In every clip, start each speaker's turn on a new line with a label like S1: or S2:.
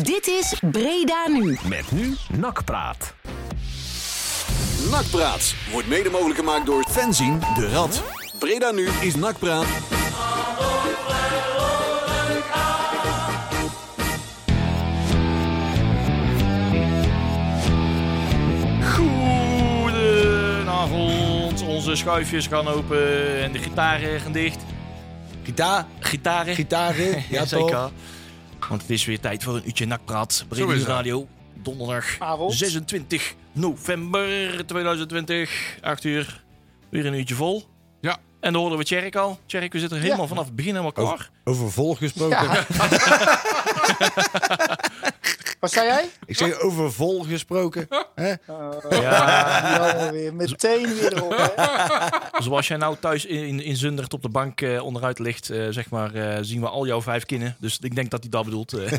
S1: Dit is Breda Nu.
S2: Met nu Nakpraat.
S3: Nakpraat wordt mede mogelijk gemaakt door Fenzin de Rad. Breda nu is Nakpraat.
S4: Goedenavond. Onze schuifjes gaan open en de gitaren gaan dicht.
S5: Gitaar,
S4: Gitaren?
S5: gitaren, ja
S4: zeker.
S5: toch?
S4: Want het is weer tijd voor een uurtje nakpraat. Brede
S5: is
S4: Nieuws
S5: dat.
S4: Radio, donderdag 26 november 2020, 8 uur. Weer een uurtje vol.
S6: Ja.
S4: En dan horen we Tjerk al. Tjerk, we zitten er helemaal vanaf het begin helemaal
S5: Oh.
S4: klaar.
S5: Over vol gesproken.
S7: Wat zei jij?
S5: Ik zeg over vol gesproken. Hè?
S7: Ja. weer. Meteen weer erop. Hè?
S4: Zoals jij nou thuis in, in, in Zundert op de bank eh, onderuit ligt, eh, zeg maar, eh, zien we al jouw vijf kinderen. Dus ik denk dat hij dat bedoelt. eh.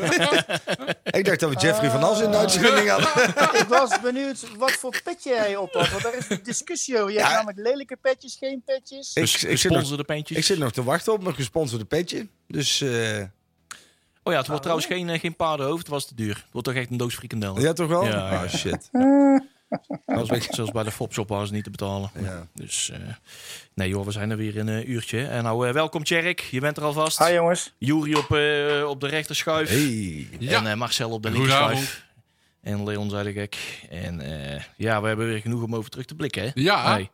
S5: Ik dacht dat we Jeffrey van As in de uitzending
S7: Ah.
S5: hadden.
S7: Ik was benieuwd wat voor petje jij op had. Want daar is een discussie over. Je hebt
S5: Ja.
S7: namelijk lelijke petjes, geen petjes.
S5: Ik,
S4: Dus
S5: ik, zit nog,
S4: sponsor de peentjes.
S5: ik zit nog te wachten op mijn gesponsorde petje. Dus eh
S4: Oh ja, het wordt trouwens geen, eh, geen paardenhoofd, het was te duur. Het wordt toch echt een doos frikandellen.
S5: Ah. ja, toch wel?
S4: Ja, ja.
S5: Ah, shit.
S4: Zelfs, bij- zelfs bij de Fopshop waren ze niet te betalen.
S5: Ja.
S4: Dus eh, nee joh, we zijn er weer in een uurtje. En nou, eh, welkom Tjerk, je bent er alvast.
S7: Hi jongens.
S4: Juri op, eh, op de rechterschuif.
S5: Hey.
S6: Ja.
S4: En eh, Marcel op de
S6: Goedenavond.
S4: linkerschuif. En Leon zei de gek. En eh, ja, we hebben weer genoeg om over terug te blikken. Hè?
S6: Ja.
S4: Hey,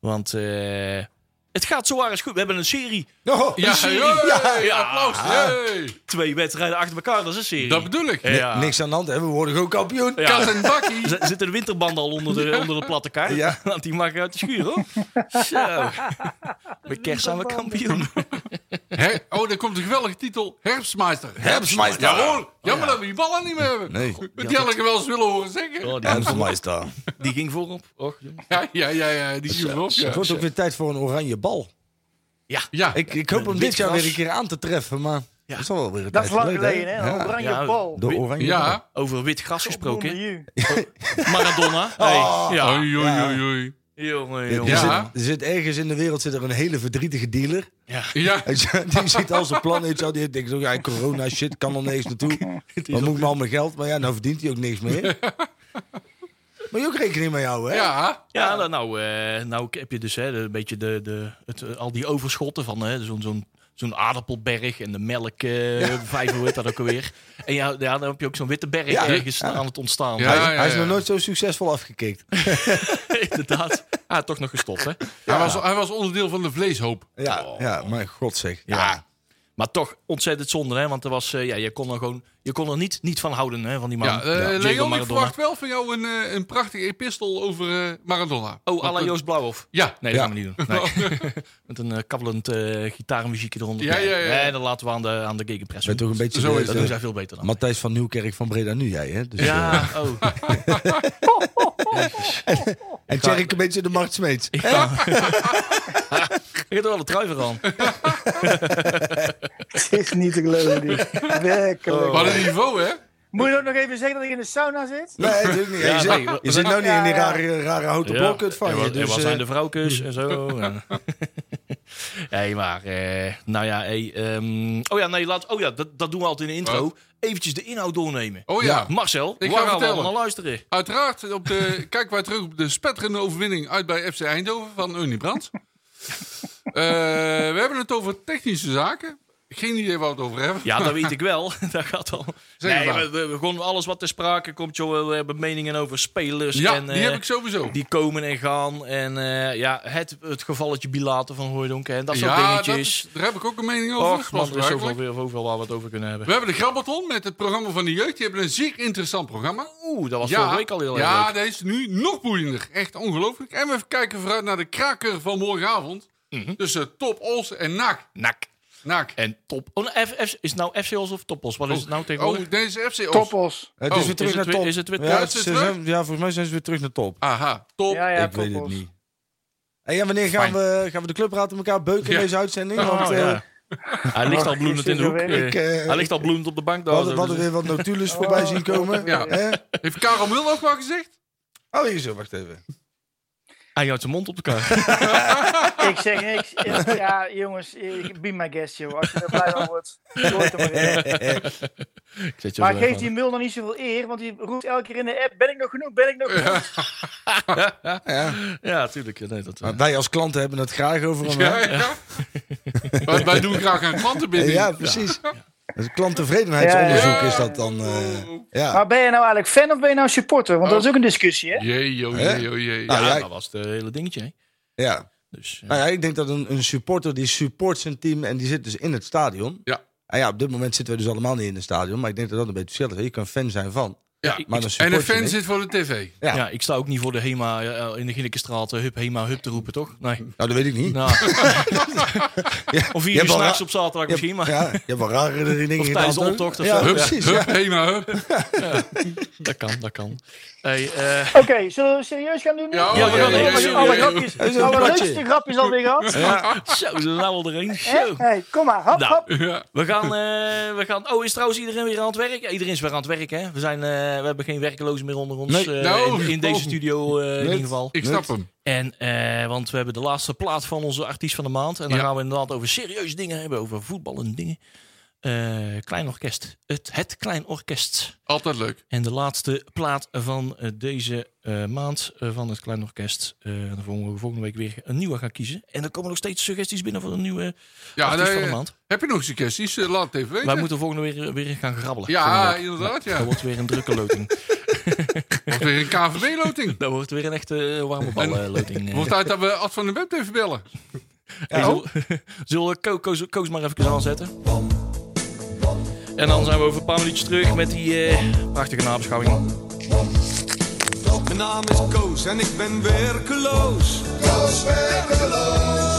S4: Want eh, het gaat zo waar als goed. We hebben een serie.
S5: Oh,
S6: Ja,
S4: serie.
S6: hey,
S4: Ja.
S6: ja, applaus. hey.
S4: Twee wedstrijden achter elkaar, dat is een serie.
S6: Dat bedoel ik.
S4: Eh, ja.
S5: Niks aan de hand, hè? we worden gewoon kampioen.
S4: Ja.
S6: Kat en bakkie.
S4: Z- Zitten de winterbanden al onder de, onder de platte kaart?
S5: Ja.
S4: Want die mag uit de schuur, hoor. Zo. Met kerst zijn we kampioen.
S6: Her- oh, daar komt een geweldige titel. Herfstmeister.
S5: Herbstmeister.
S4: Oh,
S6: Jawohl. Jammer dat we die ballen niet meer hebben.
S5: Nee.
S6: Die had ik wel eens willen horen zeggen.
S4: Oh, die, ging voor-
S5: Herbstmeister.
S4: die ging voorop. Och, jongen.
S6: Ja, ja, ja, ja die zien we op. Ja.
S5: Het wordt ook weer tijd voor een oranje bal.
S6: Ja.
S5: Ik, ik hoop hem
S4: Met
S5: dit jaar
S4: witgras.
S5: weer een keer aan te treffen, maar
S4: Ja.
S5: dat is al wel weer een
S7: Dat is
S5: tijd
S7: lang
S5: geleden,
S7: geleden, hè? Een oranje
S4: Ja,
S7: bal.
S5: De oranje bal.
S6: Ja.
S4: Over wit gras gesproken. hè?
S7: Onder je.
S4: Maradona. Hey. Ja.
S6: Oei, oei, oei, oei.
S4: Jongen,
S5: Er,
S4: jongen.
S6: Ja.
S5: Zit, er zit ergens in de wereld zit er een hele verdrietige dealer.
S6: Ja.
S5: Die ziet al zijn plannen. zo. Die denkt ook, ja, corona shit, kan er niks naartoe. Dan moet ik met al mijn geld. Maar ja, nou verdient hij ook niks meer. Maar je ook rekening mee houden, hè?
S6: Ja.
S4: Ja, nou, nou, eh, nou heb je dus hè, de- een beetje de, de, het, eh, al die overschotten van hè, zo'n zo'n zo'n aardappelberg en de melk, eh vijf, hoe heet dat ook alweer. En ja, ja, dan heb je ook zo'n witte berg
S5: Ja.
S4: ergens aan het ontstaan.
S6: Ja.
S5: Hij, is- hij is nog nooit zo succesvol afgekikt.
S4: Inderdaad. Ah, toch nog gestopt, hè?
S6: Hij, was, hij was onderdeel van de vleeshoop.
S5: Ja, ja maar god zeg.
S4: Ja. Ah, Maar toch ontzettend zonde, hè? Want er was, eh, ja, je kon er gewoon je kon er niet, niet van houden, hè, van die man.
S6: Ja, eh,
S4: Diego
S6: Leon, ik
S4: Maradona.
S6: verwacht wel van jou een, eh, een prachtige epistel over eh, Maradona.
S4: Oh, à la Joost Blauwhof.
S6: Ja.
S4: Nee, dat
S5: Ja.
S4: gaan we niet doen. Nee. Met een eh, kabbelend eh gitaarmuziekje eronder.
S6: Ja, ja, ja.
S4: Nee, dat laten we aan de, aan de gegenpress
S5: Ben toch een beetje
S6: Zo
S5: de-
S6: is
S4: Dat
S5: de-
S4: doen zij veel beter dan.
S5: Matthijs van Nieuwkerk van Breda nu jij, hè? Dus, eh,
S4: Ja, oh.
S5: en Tjerk een beetje de Mart Smeets.
S4: Ik heb er wel een trui voor aan.
S7: Het is niet te geloven. dus. dit. Werkelijk.
S6: Wat een niveau, hè?
S7: Moet je ook nog even zeggen dat ik in de sauna zit?
S5: Nee, natuurlijk niet.
S4: Ja,
S5: je,
S4: nee,
S5: zit,
S4: we-
S5: je zit nou niet in die
S7: Ja, ja.
S5: rare, rare houten blokkut van
S4: en
S5: je.
S4: wat, en
S5: Dus,
S4: wat
S5: eh,
S4: zijn de vrouwkes en zo. en- hey, maar, eh, nou ja, hey, ehm, oh ja, nee, laat, oh ja, dat, dat doen we altijd in de intro.
S6: Wat?
S4: Eventjes de inhoud doornemen.
S6: Oh ja.
S4: Marcel,
S6: Ik
S4: ik
S6: ga
S4: waar gaan we
S6: vertellen.
S4: allemaal naar luisteren?
S6: Uiteraard op de, kijken wij terug op de spetterende overwinning uit bij FC Eindhoven van Ernie Brandt. Eh, we hebben het over technische zaken. Geen idee waar we het over hebben.
S4: Ja, dat weet ik wel. dat gaat al.
S6: Zeg het
S4: Nee, we,
S6: maar.
S4: we, we- gewoon alles wat ter sprake komt, joh. We hebben meningen over spelers.
S6: Ja,
S4: en,
S6: die
S4: eh,
S6: heb ik sowieso.
S4: Die komen en gaan. En eh, ja, het, het gevalletje Bilater van Hooijdonk en dat soort
S6: ja, dat
S4: dingetjes.
S6: is- daar heb ik ook een mening over.
S4: Och man,
S6: zoals
S4: er is zoveel,
S6: gebruikelijk.
S4: weer- overal waar we het over kunnen hebben.
S6: we hebben de Grabbelton met het programma van de jeugd. Die hebben een zeer interessant programma.
S4: Oeh, dat was vorige week al heel erg
S6: ja
S4: leuk.
S6: deze is nu nog boeiender. Echt ongelooflijk. En we kijken vooruit naar de kraker van morgenavond. Tussen Top Os en NAC.
S4: Nak.
S6: NAC.
S4: Mhm. En top. Oh, nou, F, F- is het nou FC Os of Topos? Wat is het nou
S6: Oh,
S4: tegenwoordig?
S6: deze FC Os.
S7: Toppels.
S5: het
S6: Oh,
S5: is weer terug
S4: is, het
S5: naar
S4: weer,
S5: top.
S4: is het weer
S5: ja,
S4: top?
S6: is het
S5: ze
S6: terug?
S5: zijn- ja, volgens mij zijn ze weer terug naar top.
S6: Aha, Top.
S7: Ja, ja,
S5: ik weet het
S7: toppels.
S5: niet. En ja, wanneer
S6: Fijn.
S5: gaan we, gaan we de clubraad met elkaar beuken
S6: Ja.
S5: in deze uitzending?
S4: Oh,
S5: Want eh,
S4: ja. Hij ligt al bloemend in de hoek.
S7: Ik,
S4: eh,
S5: ik, eh,
S4: hij ligt al bloemend op de bank.
S5: we
S4: daar.
S5: hadden,
S4: Dus
S5: we hadden weer wat notules voorbij zien komen.
S6: Ja.
S5: Hè?
S6: Heeft Karel Mul ook wel gezegd?
S5: Oh, hier zo, wacht even.
S4: Hij houdt zijn mond op elkaar.
S7: Ik zeg niks. Ik- Ja, jongens, ik- be my guest, joh. Als je er blij van wordt, gooit hem erin.
S4: Ik zet je
S7: Maar
S4: zo
S7: geef
S4: even
S7: die
S4: aan.
S7: Mulder niet zoveel eer, want die roept elke keer in de app: Ben ik nog genoeg? Ben ik nog genoeg?
S4: Ja, tuurlijk. Ja, nee, dat, eh,
S5: Maar wij als klanten hebben het graag over hem.
S6: Ja,
S5: hè?
S6: ja. Wij- Wij doen graag een klantenbinding.
S5: Ja,
S6: Ja,
S5: precies. Dat is een klanttevredenheidsonderzoek
S6: Ja, ja.
S5: is dat dan. eh, ja.
S7: Maar ben je nou eigenlijk fan of ben je nou supporter? Want dat is ook een discussie, hè?
S6: Jee, joh,
S5: Hè?
S6: jee, joh, jee.
S5: Nou,
S4: ja,
S5: ja, ik-
S4: dat was het eh, hele dingetje. hè.
S5: Ja.
S4: Dus, eh,
S5: Nou ja, ik denk dat een, een supporter die support zijn team en die zit dus in het stadion.
S6: Ja.
S5: Nou ja, op dit moment zitten we dus allemaal niet in het stadion, maar ik denk dat dat een beetje verschil is. Je kan fan zijn van.
S6: Ja.
S5: Maar een
S6: En een
S5: supporter
S6: fan
S5: niet.
S6: zit voor de tv.
S5: ja.
S4: ja. ik sta ook niet voor de HEMA eh, in de Ginnekenstraat, eh, hup, HEMA, hup te roepen, toch? Nee.
S5: Nou, dat weet ik niet.
S4: Nou. Om
S5: je
S4: vier
S5: hebt
S4: uur
S5: wel
S4: s'nachts
S5: ra-
S4: op zaterdag
S5: je,
S4: misschien,
S5: hebt- ja,
S4: maar
S5: je hebt wel rare dingen
S4: Of
S5: gedaan,
S4: tijdens de
S5: toch?
S4: optocht of
S5: ja,
S4: zo. Ja.
S5: Precies,
S6: Hup,
S5: ja.
S6: Hema, hup.
S4: dat kan, dat kan. Hey, eh,
S7: Oké, zullen we serieus gaan doen? nu?
S6: Ja,
S7: we
S6: ja,
S4: ja,
S7: hebben
S4: ja,
S7: alle-
S4: ja,
S7: alle
S4: ja, ja.
S7: grapjes-
S5: Dat is een
S7: alle
S5: kwartje.
S7: leukste grapjes alweer gehad.
S4: zo, ze zijn wel erheen.
S7: Hè?
S4: Zo.
S7: Hey, kom maar, hap,
S4: Nou,
S7: hap.
S6: Ja.
S4: We gaan, eh, we gaan. Oh, is trouwens iedereen weer aan het werk? Ja, Iedereen is weer aan het werk, hè? We, zijn, eh, we hebben geen werklozen meer onder ons.
S5: Nee.
S4: eh,
S6: Nou,
S4: in, in
S6: oh.
S4: deze studio eh, in ieder geval.
S6: Ik snap hem.
S4: En, eh, want we hebben de laatste plaat van onze artiest van de maand. En dan
S6: Ja.
S4: gaan we inderdaad over serieuze dingen hebben, over voetballende dingen. Eh, klein orkest. Het, het Klein Orkest.
S6: Altijd leuk.
S4: En de laatste plaat van eh, deze eh, maand eh, van het Klein Orkest. Eh, en dan volgende, volgende week weer een nieuwe gaan kiezen. En er komen nog steeds suggesties binnen voor een nieuwe
S6: Ja,
S4: artiest van
S6: nee,
S4: de maand.
S6: heb je nog suggesties? Eh, Laat het even weten.
S4: Wij moeten volgende weer, weer gaan grabbelen.
S6: Ja,
S4: Volgende week.
S6: inderdaad.
S4: Dat
S6: Ja.
S4: wordt weer een drukke loting.
S6: Wordt weer een KVB-loting.
S4: Dat wordt weer een echte eh, warme bal eh, loting. eh.
S6: Wordt uit dat we Ad van de Web even bellen.
S4: Hey, zullen- Zullen we Ko- Koos, Koos maar even aanzetten? En dan zijn we over een paar minuutjes terug met die eh, prachtige nabeschouwing.
S8: Mijn naam is Koos en ik ben werkeloos. Koos werkeloos.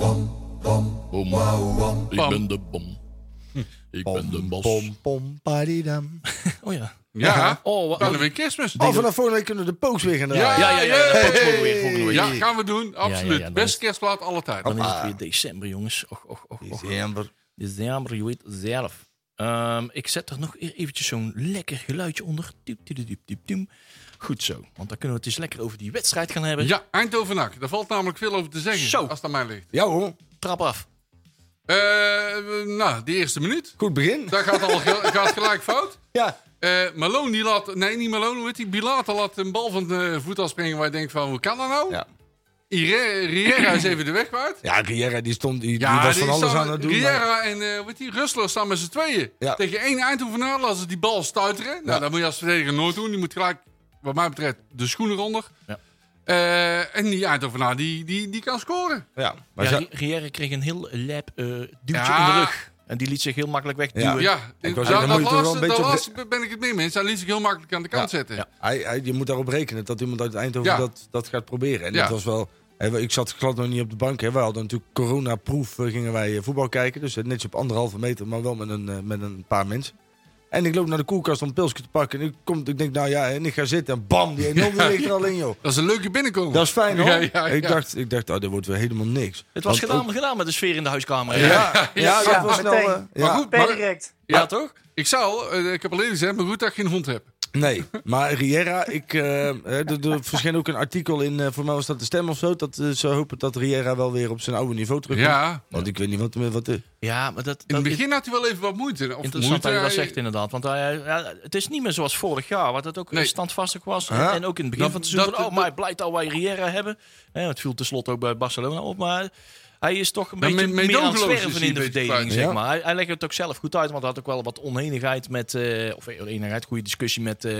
S4: Bom. Ik ben de bom. Ik ben de bos.
S5: Pom, pom, padidam.
S4: Oh ja.
S6: Ja,
S4: Oh, wa-
S6: dan weer kerstmis.
S5: Oh, vanaf volgende week kunnen we de pooks weer gaan draaien.
S4: Ja, ja, ja.
S6: Hey.
S4: dat wordt volgende week, volgende week.
S6: Ja, gaan we doen. Absoluut.
S4: ja, dan
S6: Beste
S4: is-
S6: kerstplaat alle tijd.
S4: Dan is het weer december, jongens. Och, och, och, och.
S5: December.
S4: December, je weet zelf. Ehm, ik zet er nog e- eventjes zo'n lekker geluidje onder. Diep, diep, diep, diep, diep, diep. Goed zo. Want dan kunnen we het eens lekker over die wedstrijd gaan hebben.
S6: Ja, Eindhoven-Nak. Daar valt namelijk veel over te zeggen.
S4: Zo.
S6: Als het aan mij ligt.
S5: Ja hoor,
S4: Trap af.
S6: Eh, we- nou, die eerste minuut.
S5: goed begin.
S6: Daar gaat, al, ge- gaat gelijk fout.
S5: Ja.
S6: Eh Malone die laat... Nee, niet Malone. Hoe heet die? Bilate laat een bal van de voet afspringen waar je denkt van, hoe kan dat nou?
S5: Ja.
S6: Ire- Riera is even de weg kwijt.
S5: Ja, Riera die stond, die, die was
S6: die
S5: van alles
S6: staan-
S5: aan het doen. maar-
S6: Riera en eh wat die Rustler staan met z'n tweeën.
S5: Ja.
S6: Tegen één Eindhovenaar laten ze die bal stuiteren. Nou, dat moet je als verdediger nooit doen. Die moet gelijk, wat mij betreft, de schoenen onder.
S4: Ja.
S6: Eh, en die Eindhovenaar, die, die, die kan scoren.
S5: Ja, maar
S4: Ja,
S5: ze-
S4: Ri- Riera kreeg een heel lijp eh, duwtje
S6: Ja.
S4: in de rug. En die liet zich heel makkelijk wegduwen.
S6: Ja, eh,
S5: Ik
S6: dat
S5: wou zeggen, dan moet je toch wel een
S6: laatste, dat
S5: beetje op-
S6: laatste ben ik het mee eens. Hij liet zich heel makkelijk aan de kant
S5: Ja.
S6: zetten.
S4: Ja.
S5: hij, hij, je moet daarop rekenen dat iemand uit Eindhoven
S6: Ja.
S5: dat, dat gaat proberen. En
S6: Ja.
S5: dat was wel... hè, Ik zat glad nog niet op de bank. Hè. We hadden natuurlijk coronaproof eh, gingen wij eh, voetbal kijken. Dus eh, netjes op anderhalve meter, maar wel met een, eh, met een paar mensen. En ik loop naar de koelkast om een pilsje te pakken. En ik, kom, ik denk, nou ja, en ik ga zitten. En bam, die 1-0 die ligt er al in, joh.
S6: Dat is een leuke binnenkomen.
S5: Dat is fijn, hoor.
S6: Ja, ja,
S5: Ik
S6: ja.
S5: dacht, ik dacht oh, dit wordt weer helemaal niks.
S4: Het was
S5: Want
S4: gedaan,
S5: ook-
S4: gedaan met de sfeer in de huiskamer.
S5: ja,
S4: hè?
S5: ja, dat
S7: Ja,
S5: was snel...
S7: meteen.
S5: eh, ja.
S6: Maar goed,
S7: Per
S6: maar-
S7: direct.
S4: Ja, toch?
S6: ik zou, eh, ik heb alleen gezegd, maar goed dat ik geen hond heb.
S5: Nee, maar Riera, ik, eh, eh, er, er verscheen ook een artikel in, eh, voor mij was dat de stem of zo, dat eh, ze hopen dat Riera wel weer op zijn oude niveau terugkomt.
S6: Ja,
S5: Want ik weet niet wat, wat is.
S4: Ja, maar dat,
S6: in
S4: dat
S6: het
S4: is
S6: begin had hij wel even wat moeite. Of
S4: interessant
S6: moeite,
S4: dat je dat
S6: hij-
S4: zegt inderdaad. Want hij, ja, het is niet meer zoals vorig jaar, wat het ook
S6: Nee.
S4: standvastig was.
S5: Ja.
S4: En ook in het begin
S6: Dat-
S4: van het seizoen.
S6: dat-
S4: van, Oh, maar het blijkt dat wij Riera hebben. Hè, het viel tenslotte ook bij Barcelona op. Maar hij is toch een
S6: Ja,
S4: beetje
S6: me-
S4: meer aan het
S6: meedogenloos is
S4: zwerven
S6: hij
S4: in de
S6: een beetje
S4: verdediging,
S5: kwijt.
S4: zeg
S5: Ja.
S4: maar. Hij, hij legt het ook zelf goed uit, want hij had ook wel wat oneenigheid met... eh, of oneenigheid, goede discussie met, eh,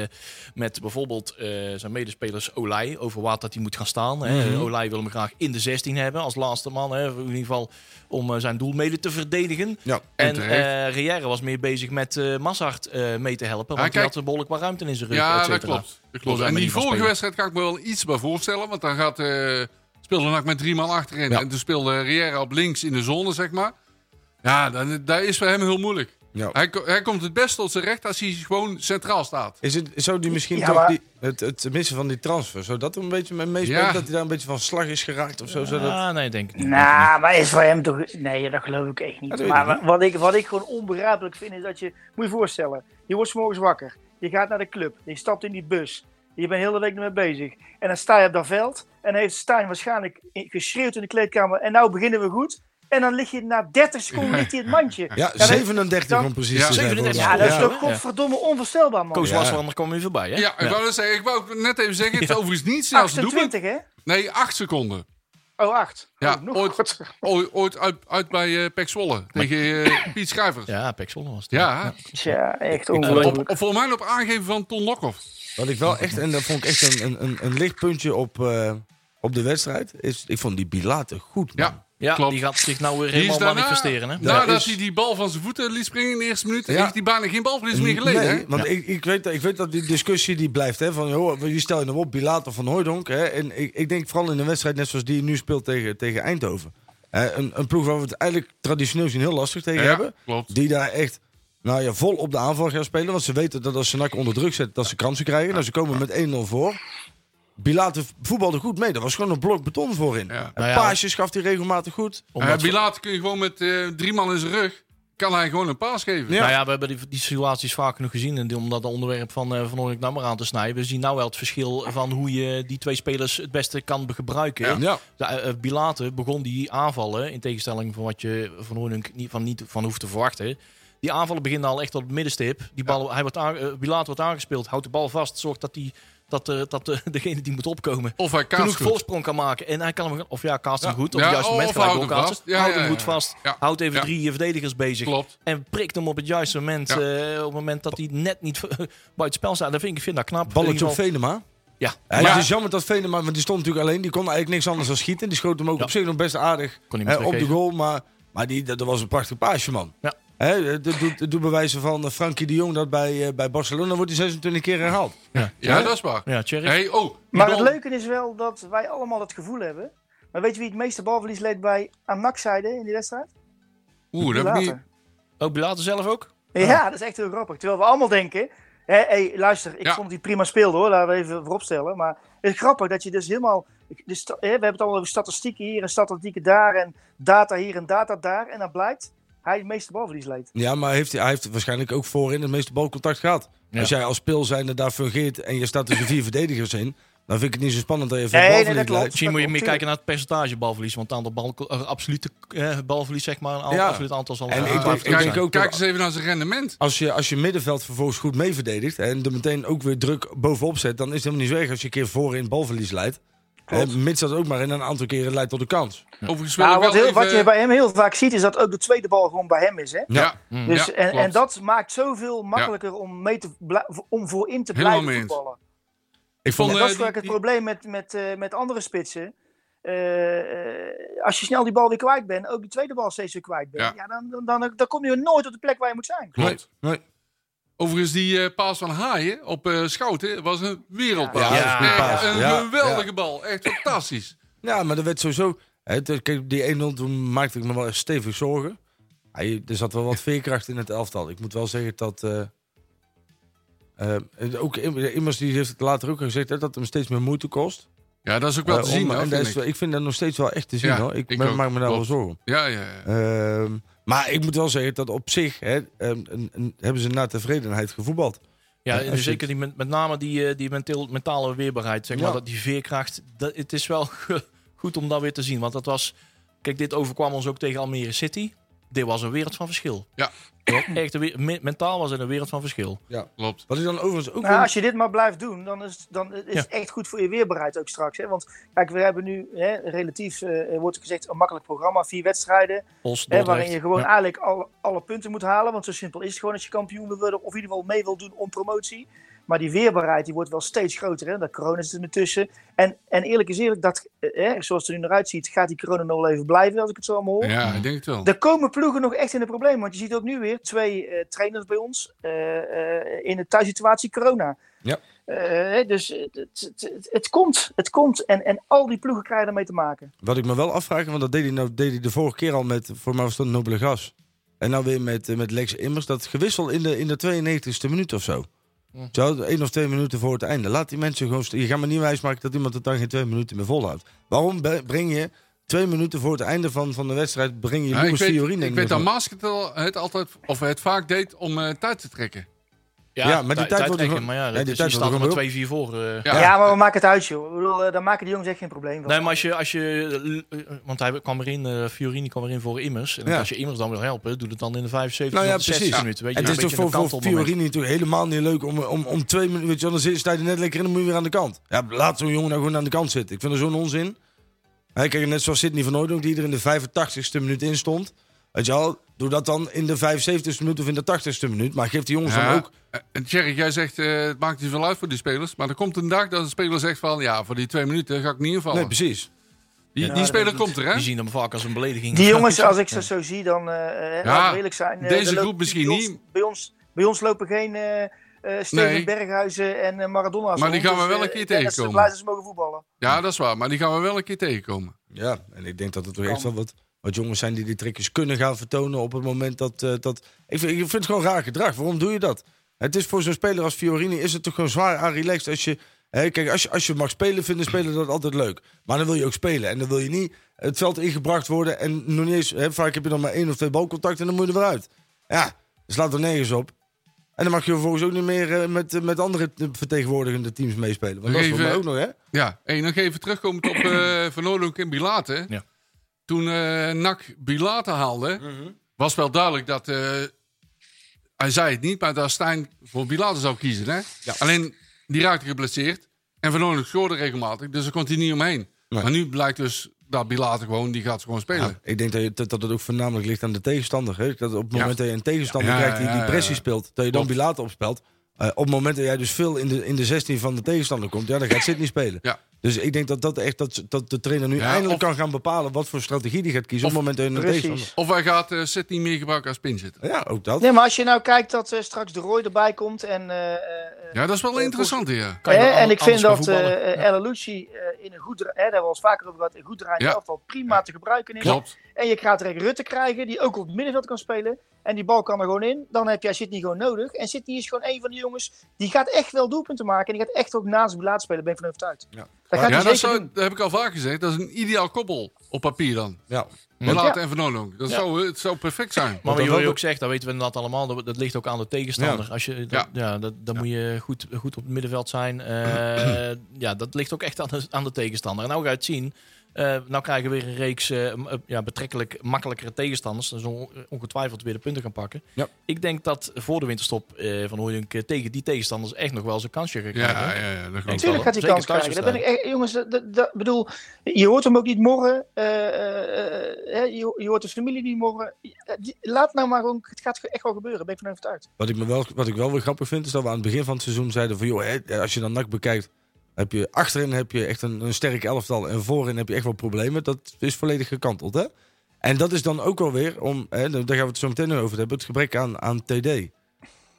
S4: met bijvoorbeeld eh, zijn medespelers Olij... over waar dat hij moet gaan staan. hè. Olij wil hem graag in de 16 hebben als laatste man. Hè, in ieder geval om eh, zijn doel mede te verdedigen.
S5: Ja.
S4: En
S6: terecht.
S4: eh Riera was meer bezig met eh Massart eh, mee te helpen. Want
S6: Ah,
S4: die
S6: kijk.
S4: had er behoorlijk wat ruimte in zijn rug. et
S6: Ja, dat
S4: cetera.
S6: klopt. Dat klopt.
S4: zijn
S6: En
S4: manier
S6: die
S4: van
S6: vorige
S4: spelen.
S6: wedstrijd kan ik me wel iets bij voorstellen. Want dan gaat, eh speelde NAC met drie man achterin.
S5: Ja.
S6: En toen speelde Riera op links in de zone, zeg maar. Ja, dan- dat is voor hem heel moeilijk.
S5: Ja.
S6: Hij, ko- hij komt het best tot zijn recht als hij gewoon centraal staat.
S5: Is het, zou die misschien
S7: Ja,
S5: toch
S7: maar-
S5: die, het, het missen van die transfer, zou dat er een beetje mee meespelen?
S6: Ja.
S5: Dat hij daar een beetje van slag is geraakt of zo? Zou dat...
S4: Ah, nee, denk ik niet.
S7: Nou, maar is voor hem toch... Nee, dat geloof ik echt niet.
S5: Dat weet ik
S7: maar
S5: niet.
S7: Wat, ik, wat ik gewoon onbegrijpelijk vind, is dat je... Moet je voorstellen, je wordt 's morgens wakker. Je gaat naar de club. Je stapt in die bus. Je bent de hele week ermee bezig. En dan sta je op dat veld. En dan heeft Stijn waarschijnlijk in- geschreeuwd in de kleedkamer. En nou beginnen we goed. En dan lig je na 30 seconden ligt hij in het mandje.
S5: Ja,
S7: dat-
S5: 37
S7: dat-
S5: om precies
S6: Ja,
S5: te zijn.
S4: 37.
S7: Ja, dat is
S5: Ja.
S7: toch godverdomme onvoorstelbaar, man.
S4: Koos
S5: Ja.
S4: Laslander kwam weer voorbij, hè?
S6: Ja, ik wou, dat zeggen, ik wou het net even zeggen. Het is overigens niet zelfs doelpunt.
S7: 28, hè?
S6: Nee, acht seconden.
S7: Oh, 8.
S6: Ja,
S7: oh, nog
S6: ooit-
S7: korter.
S6: Ooit, ooit uit, uit bij eh Pek Zwolle tegen eh, Piet Schrijvers. Ja,
S4: Ja, Pek Zwolle was het.
S7: Tja, echt
S6: Op,
S7: ongelooflijk.
S6: op- volgens mij op aangeven van Ton Lokhoff.
S5: Wat ik wel echt, en dat vond ik echt een, een, een, een lichtpuntje op, eh, op de wedstrijd, is ik vond die Bilate goed, man.
S6: Ja,
S4: Ja,
S6: klopt.
S4: die gaat zich nou weer
S6: Die is
S4: helemaal
S6: daarna-
S4: manifesteren, hè?
S6: Nadat
S5: is-
S6: hij die bal van zijn voeten liet springen in de eerste minuut,
S5: Ja.
S6: heeft hij bijna geen balverlies meer geleden.
S5: Nee,
S6: hè? Eh,
S5: want ik, ik, weet, dat- ik weet dat die discussie die blijft. Hè, van, joh, wie stel je nou op? Bilater van Hooijdonk. Hè, en ik, ik denk vooral in een wedstrijd net zoals die je nu speelt tegen, tegen Eindhoven. Hè, een, een ploeg waar we het eigenlijk traditioneel zien heel lastig tegen
S6: Ja,
S5: hebben.
S6: klopt.
S5: Die daar echt nou ja, vol op de aanval gaan spelen. Want ze weten dat als ze nak onder druk zetten, dat ze kansen krijgen. Nou, ze komen met 1-0 voor. Bilater voetbalde goed mee. Dat was gewoon een blok beton voorin.
S6: Ja.
S5: En
S4: Nou ja,
S5: paasjes gaf hij regelmatig goed.
S6: Eh, Bilater kun je gewoon met eh, drie man in zijn rug, kan hij gewoon een paas geven.
S5: Ja.
S4: Nou ja, we hebben die, die situaties vaak genoeg gezien. En die- om dat onderwerp van eh Van Oorlijk nou maar aan te snijden. We zien nou wel het verschil van hoe je die twee spelers het beste kan be- gebruiken.
S5: Ja. Ja.
S4: De, eh, eh, Bilate begon die aanvallen, in tegenstelling van wat je Van Oorlijk niet van, niet van hoeft te verwachten. Die aanvallen beginnen al echt op het middenstip. Die bal, hij wordt aan, eh, Bilate wordt aangespeeld, houdt de bal vast, zorgt dat, die, dat, eh, dat eh, degene die moet opkomen
S6: Of hij kaast
S4: genoeg
S6: goed.
S4: voorsprong kan maken. En hij kan hem, of ja, kaast hem
S6: Ja.
S4: goed. Op
S6: Ja, Oh,
S4: het juiste moment
S6: of
S4: gelijk
S6: houdt hem
S4: doorkaatsen.
S6: vast. Ja,
S4: houdt
S6: ja,
S4: hem goed
S6: ja, ja.
S4: vast.
S6: Ja.
S4: Houdt even
S6: Ja.
S4: drie eh, verdedigers bezig.
S6: Klopt.
S4: En prikt hem op het juiste moment.
S6: Ja.
S4: eh, op het moment dat hij net niet bij het spel staat. Dat vind ik, ik vind dat knap. In
S5: Balletje
S4: ieder
S5: op
S4: geval-
S5: Venema.
S4: Ja,
S5: Ja,
S6: Maar-
S5: dus het is jammer dat Venema, want die stond natuurlijk alleen. Die kon eigenlijk niks anders dan schieten. Die schoot hem ook
S4: Ja.
S5: op zich nog best aardig
S4: Kon hij
S5: hè,
S4: hem
S5: op de
S4: teruggeven.
S5: goal. Maar, maar die, dat, dat was een prachtig paasje, man.
S4: Ja.
S5: Hè, dat doet dat doet bewijzen van eh, Frankie de Jong dat bij, eh, bij Barcelona wordt hij 26 keer herhaald.
S6: Ja,
S5: Ja.
S6: dat is waar.
S4: ja Thierry.
S6: Hey, oh, die
S7: Maar
S6: bal-
S7: het leuke is wel dat wij allemaal het gevoel hebben. Maar weet je wie het meeste balverlies leed bij aan NAC-zijde in die wedstrijd?
S6: Oeh, dat heb ik niet.
S7: Later.
S4: Ook Bilater zelf ook.
S7: Ja, dat is echt heel grappig. Terwijl we allemaal denken... Hé, hé, luister, ik
S6: Ja.
S7: vond die prima speelde hoor. Laten we even vooropstellen. Maar het is grappig dat je dus helemaal... de sta- hè, we hebben het allemaal over statistieken hier en statistieken daar. En data hier en data daar. En dan blijkt hij het meeste balverlies leed.
S5: Ja, maar heeft, hij hij heeft waarschijnlijk ook voorin het meeste balcontact gehad.
S4: Ja.
S5: Als jij als speelzijnde daar fungeert en je staat tussen vier verdedigers in, dan vind ik het niet zo spannend dat je veel
S7: Nee, nee,
S5: balverlies
S7: dat klopt.
S5: leidt.
S4: Misschien moet je meer
S7: Tuurlijk.
S4: kijken naar het percentage balverlies. Want het aantal bal, eh, absolute eh, balverlies, zeg maar. Een aantal,
S5: Ja.
S4: absoluut aantal zal
S5: En
S4: eh,
S5: ik denk-
S4: blijven
S5: ik
S4: zijn.
S5: denk ook
S6: Kijk
S5: dat-
S6: eens even naar zijn rendement.
S5: Als je, als je middenveld vervolgens goed mee verdedigt en er meteen ook weer druk bovenop zet, dan is het helemaal niet zo erg als je een keer voorin balverlies leidt. Eh, mits dat ook maar in een aantal keren leidt tot de kans.
S6: Overigens wil
S7: Nou,
S6: ik
S7: wat,
S6: wel
S7: heel, wat
S6: even-
S7: je bij hem heel vaak ziet is dat ook de tweede bal gewoon bij hem is. Hè?
S6: Ja,
S7: Dus,
S6: Hmm. Ja,
S7: en, en
S6: klopt.
S7: dat maakt zoveel makkelijker om, mee te blij- om voorin te
S6: Helemaal mee
S7: blijven
S6: eens.
S7: voetballen.
S5: Ik
S6: vond,
S7: En
S6: eh,
S7: dat is vaak
S6: die-
S7: het
S6: die-
S7: probleem met, met, eh, met andere spitsen. Eh, eh, als je snel die bal weer kwijt bent, ook die tweede bal steeds weer kwijt bent, ja. dan, dan, dan, dan kom je nooit op de plek waar je moet zijn.
S6: Klopt.
S5: Nee, nee.
S6: Overigens, die eh, paas van Haaien op eh, Schouten was een wereldpaas.
S5: Ja,
S4: ja,
S6: Echt
S5: paas.
S6: een
S5: Ja,
S6: geweldige bal. Echt fantastisch.
S5: Ja, maar dat werd sowieso. hè, t- Kijk, die 1-0 toen maakte ik me wel echt stevig zorgen. Hij, er zat wel wat veerkracht in het elftal. Ik moet wel zeggen dat. eh eh, ook Im- immers die heeft het later ook al gezegd hè, dat het hem steeds meer moeite kost.
S6: Ja, dat is ook wel
S5: Eh,
S6: te
S5: om-
S6: zien.
S5: en
S6: hoor,
S5: dat
S6: vind
S5: is-
S6: ik.
S5: ik vind dat nog steeds wel echt te zien
S6: Ja,
S5: hoor. Ik,
S6: ik
S5: ben-
S6: ook.
S5: maak me daar wel
S6: Klopt.
S5: zorgen om.
S6: Ja, ja, ja.
S5: Ehm, maar ik moet wel zeggen dat op zich hè, ehm, een- een- hebben ze naar tevredenheid gevoetbald.
S4: Ja,
S5: Ja,
S4: en
S5: als je
S4: zeker die, met, met name die, eh, die menteel- mentale weerbaarheid, zeg
S5: Ja.
S4: maar, dat die veerkracht. Dat, het is wel goed om dat weer te zien. Want dat was. Kijk, dit overkwam ons ook tegen Almere City. Dit was een wereld van verschil.
S6: Ja.
S4: Dit was Echt een we- me- mentaal was het een wereld van verschil.
S6: Klopt.
S5: Wat ik dan overigens ook.
S7: Nou,
S5: wel-
S7: als je dit maar blijft doen, dan is, dan is het echt goed voor je weerbaarheid ook straks. Hè? Want kijk, we hebben nu hè, relatief, eh, wordt er gezegd, een makkelijk programma. Vier wedstrijden,
S4: Os,
S7: hè,
S4: Dordrecht.
S7: waarin je gewoon
S4: Ja.
S7: eigenlijk alle, alle punten moet halen. Want zo simpel is het gewoon als je kampioen wil worden. Of in ieder geval mee wil doen om promotie. Maar die weerbaarheid die wordt wel steeds groter. Hè? Daar corona zit er tussen. En, en eerlijk is eerlijk, dat, eh, hè, zoals het er nu naar uitziet, gaat die corona nog wel even blijven. Als ik het zo allemaal hoor.
S6: Ja, ik denk het wel.
S7: Er komen ploegen nog echt in de problemen. Want je ziet ook nu weer twee eh, trainers bij ons eh, eh, in de thuissituatie corona.
S5: Ja.
S7: Eh, dus het, het, het, het komt, het komt. En, en al die ploegen krijgen ermee te maken.
S5: Wat ik me wel afvraag, want dat deed hij, nou, deed hij de vorige keer al met, voor mij was dat Nobele Gas. En nou weer met, eh, met Lex Immers. Dat gewissel in de, in de 92e minuut of zo. Zo, één of twee minuten voor het einde. Laat die mensen gewoon... st- Je gaat me niet wijsmaken dat iemand het dan geen twee minuten meer volhoudt. Waarom be- breng je twee minuten voor het einde van, van de wedstrijd... breng je
S6: Nou, ik
S5: Lucas Fiorina
S6: weet,
S5: niet
S6: ik
S5: meer
S6: weet dat
S5: voor?
S6: Masketel het altijd, of het vaak deed om eh, tijd te trekken.
S5: Ja, maar die
S4: tij-
S5: tijd wordt
S4: tijdrekken,
S5: gewoon-
S4: Maar ja,
S5: ja,
S4: dat
S5: die
S4: is-
S5: tijd
S4: je
S5: wordt
S4: staat er maar
S5: gewoon
S4: 2-4 voor. eh.
S6: Ja.
S7: Ja, maar we maken het uit, joh. Ik bedoel, eh, daar maken die jongens echt geen probleem van.
S4: Nee, maar als je, als je eh, want hij kwam erin, eh, Fiorini kwam erin voor Immers. En
S5: Ja.
S4: als je Immers dan wil helpen, doe het dan in de 75
S5: Nou ja,
S4: of de 60
S5: precies.
S4: minuten. Weet je,
S5: het
S4: een
S5: is toch
S4: beetje
S5: voor,
S4: een
S5: voor
S4: kantelmoment.
S5: Fiorini natuurlijk helemaal niet leuk om, om, om twee minuten... Weet je, wel, dan sta je er net lekker in en dan moet je weer aan de kant. Ja, laat zo'n jongen nou gewoon aan de kant zitten. Ik vind er zo'n onzin. Hij kijk, net zoals Sidney van Hooydonk, die er in de 85ste minuut in stond. Weet je wel, doe dat dan in de 75ste minuut of in de 80ste minuut. Maar geef die jongens
S6: Ja,
S5: dan ook...
S6: eh, En Thierry, jij zegt, eh, het maakt niet veel uit voor die spelers. Maar er komt een dag dat een speler zegt van, ja, voor die twee minuten ga ik niet invallen.
S4: Oh.
S5: Nee, precies.
S6: die, die
S7: dat
S6: speler
S7: is-
S6: komt er, hè?
S4: Die zien hem vaak als een belediging.
S7: Die jongens, als ik ze zo zie, dan eh, eh,
S6: Ja,
S7: laten we eerlijk zijn. eh,
S6: deze
S7: er lopen
S6: groep misschien
S7: bij ons-
S6: niet.
S7: Bij ons, bij ons lopen geen eh eh, Steven
S6: Nee.
S7: Berghuizen en eh, Maradona.
S6: Maar die gaan we wel een keer tegenkomen.
S7: Dat ze mogen voetballen.
S6: Ja, dat is waar. Maar die gaan we wel een keer tegenkomen.
S5: Ja, en ik denk dat het toch echt wel wat, wat jongens zijn die die trickjes kunnen gaan vertonen op het moment dat... eh, dat ik, vind, ik vind het gewoon raar gedrag. Waarom doe je dat? Het is voor zo'n speler als Fiorini is het toch gewoon zwaar aan relaxed als je... Hè, kijk, als je, als je mag spelen, vinden spelers dat altijd leuk. Maar dan wil je ook spelen. En dan wil je niet het veld ingebracht worden. En nog niet eens, hè, vaak heb je dan maar één of twee balcontacten en dan moet je er weer uit. Ja, dus laat er nergens op. En dan mag je vervolgens ook niet meer eh, met, eh, met andere vertegenwoordigende teams meespelen. Want dat is voor
S6: Even-
S5: mij ook nog, hè?
S6: Ja, en nog even terugkomend op eh, Van Oorlog en Bilate.
S4: Ja.
S6: Toen eh NAC Bilate haalde, was wel duidelijk dat... eh, hij zei het niet, maar dat Stijn voor Bilate zou kiezen. Hè? Alleen, die raakte geblesseerd. En Van Oorlog scoorde regelmatig, dus daar kon hij niet omheen.
S5: Nee.
S6: Maar nu blijkt dus dat Bilate gewoon, die gaat gewoon spelen.
S5: Ja, ik denk dat, je, dat dat het ook voornamelijk ligt aan de tegenstander. Hè? Dat op het moment dat je een tegenstander
S6: Ja,
S5: krijgt die,
S6: ja,
S5: die
S6: ja,
S5: pressie
S6: ja.
S5: speelt, dat je dan Bilater opspelt. eh, op het moment dat jij dus veel in de, in de 16 van de tegenstander komt, ja, dan gaat Sidney spelen.
S6: Ja.
S5: Dus ik denk dat, dat, echt, dat, dat de trainer nu
S6: Ja,
S5: eindelijk
S6: of-
S5: kan gaan bepalen wat voor strategie die gaat kiezen op het moment dat je een
S7: Precies.
S5: tegenstander...
S6: Of hij gaat eh Zet niet meer gebruiken als pinzitter.
S5: Ja, ook dat.
S7: Nee, maar als je nou kijkt dat eh, straks de Roy erbij komt en... eh, eh,
S6: Ja, dat is wel interessant, ja.
S4: Kan je
S7: Hè,
S4: dan
S7: en ik
S4: anders
S7: vind
S4: gaan
S7: dat eh
S4: voetballen?
S7: eh, El Alouchi, eh, in een goed, dra- hè, daar hebben we al eens vaker over gehad, een goed draaiend
S6: Ja.
S7: elftal prima te gebruiken is.
S6: Klopt.
S7: En je gaat direct Rutte krijgen, die ook op het middenveld kan spelen. En die bal kan er gewoon in. Dan heb jij Sidney gewoon nodig. En Sidney is gewoon een van die jongens, die gaat echt wel doelpunten maken. En die gaat echt ook naast het belaat spelen, daar ben ik van overtuigd.
S5: Ja.
S7: Dat gaat
S6: Ja,
S7: hij
S6: dat,
S7: zeker
S6: zou,
S7: doen.
S6: dat heb ik al vaak gezegd. Dat is een ideaal koppel op papier dan.
S5: Ja.
S6: Verlaat
S7: Ja.
S6: en Van Oorlog. Dat
S4: Ja.
S6: zou, eh, het zou perfect zijn.
S4: Maar
S5: Want dat
S4: wat Jori
S5: ook-
S4: ook zegt, dat weten we inderdaad allemaal. Dat, dat ligt ook aan de tegenstander. Als je, dat,
S6: Ja.
S4: ja. dat, dan moet je goed, goed op het middenveld zijn. Eh, ja, dat ligt ook echt aan de, aan de tegenstander. En nou gaat het zien. eh, nou krijgen we weer een reeks eh, m- eh, ja, betrekkelijk makkelijkere tegenstanders. Dus on- ongetwijfeld weer de punten gaan pakken.
S5: Ja.
S4: Ik denk dat voor de winterstop eh, van Hooydonk eh, tegen die tegenstanders echt nog wel eens een kansje gaat krijgen.
S6: Ja, ja, ja, dat klopt.
S4: Tuurlijk.
S7: Natuurlijk gaat hij
S4: Zeker
S7: kans krijgen. Dat ben ik
S4: thuiswedstrijd.
S7: echt, jongens, dat, dat- dat- bedoel, je hoort hem ook niet morren. eh, eh, eh, hè, je, je hoort de familie niet morren. Eh, die- Laat nou maar gewoon, het gaat echt wel gebeuren, daar ben ik van overtuigd.
S5: Wat ik, me wel, wat ik wel weer grappig vind, is dat we aan het begin van het seizoen zeiden van... joh, hè, als je dan NAC bekijkt, heb je, achterin heb je echt een, een sterk elftal... en voorin heb je echt wel problemen. Dat is volledig gekanteld, hè? En dat is dan ook wel weer, om, hè, daar gaan we het zo meteen nog over hebben... het gebrek aan, aan TD.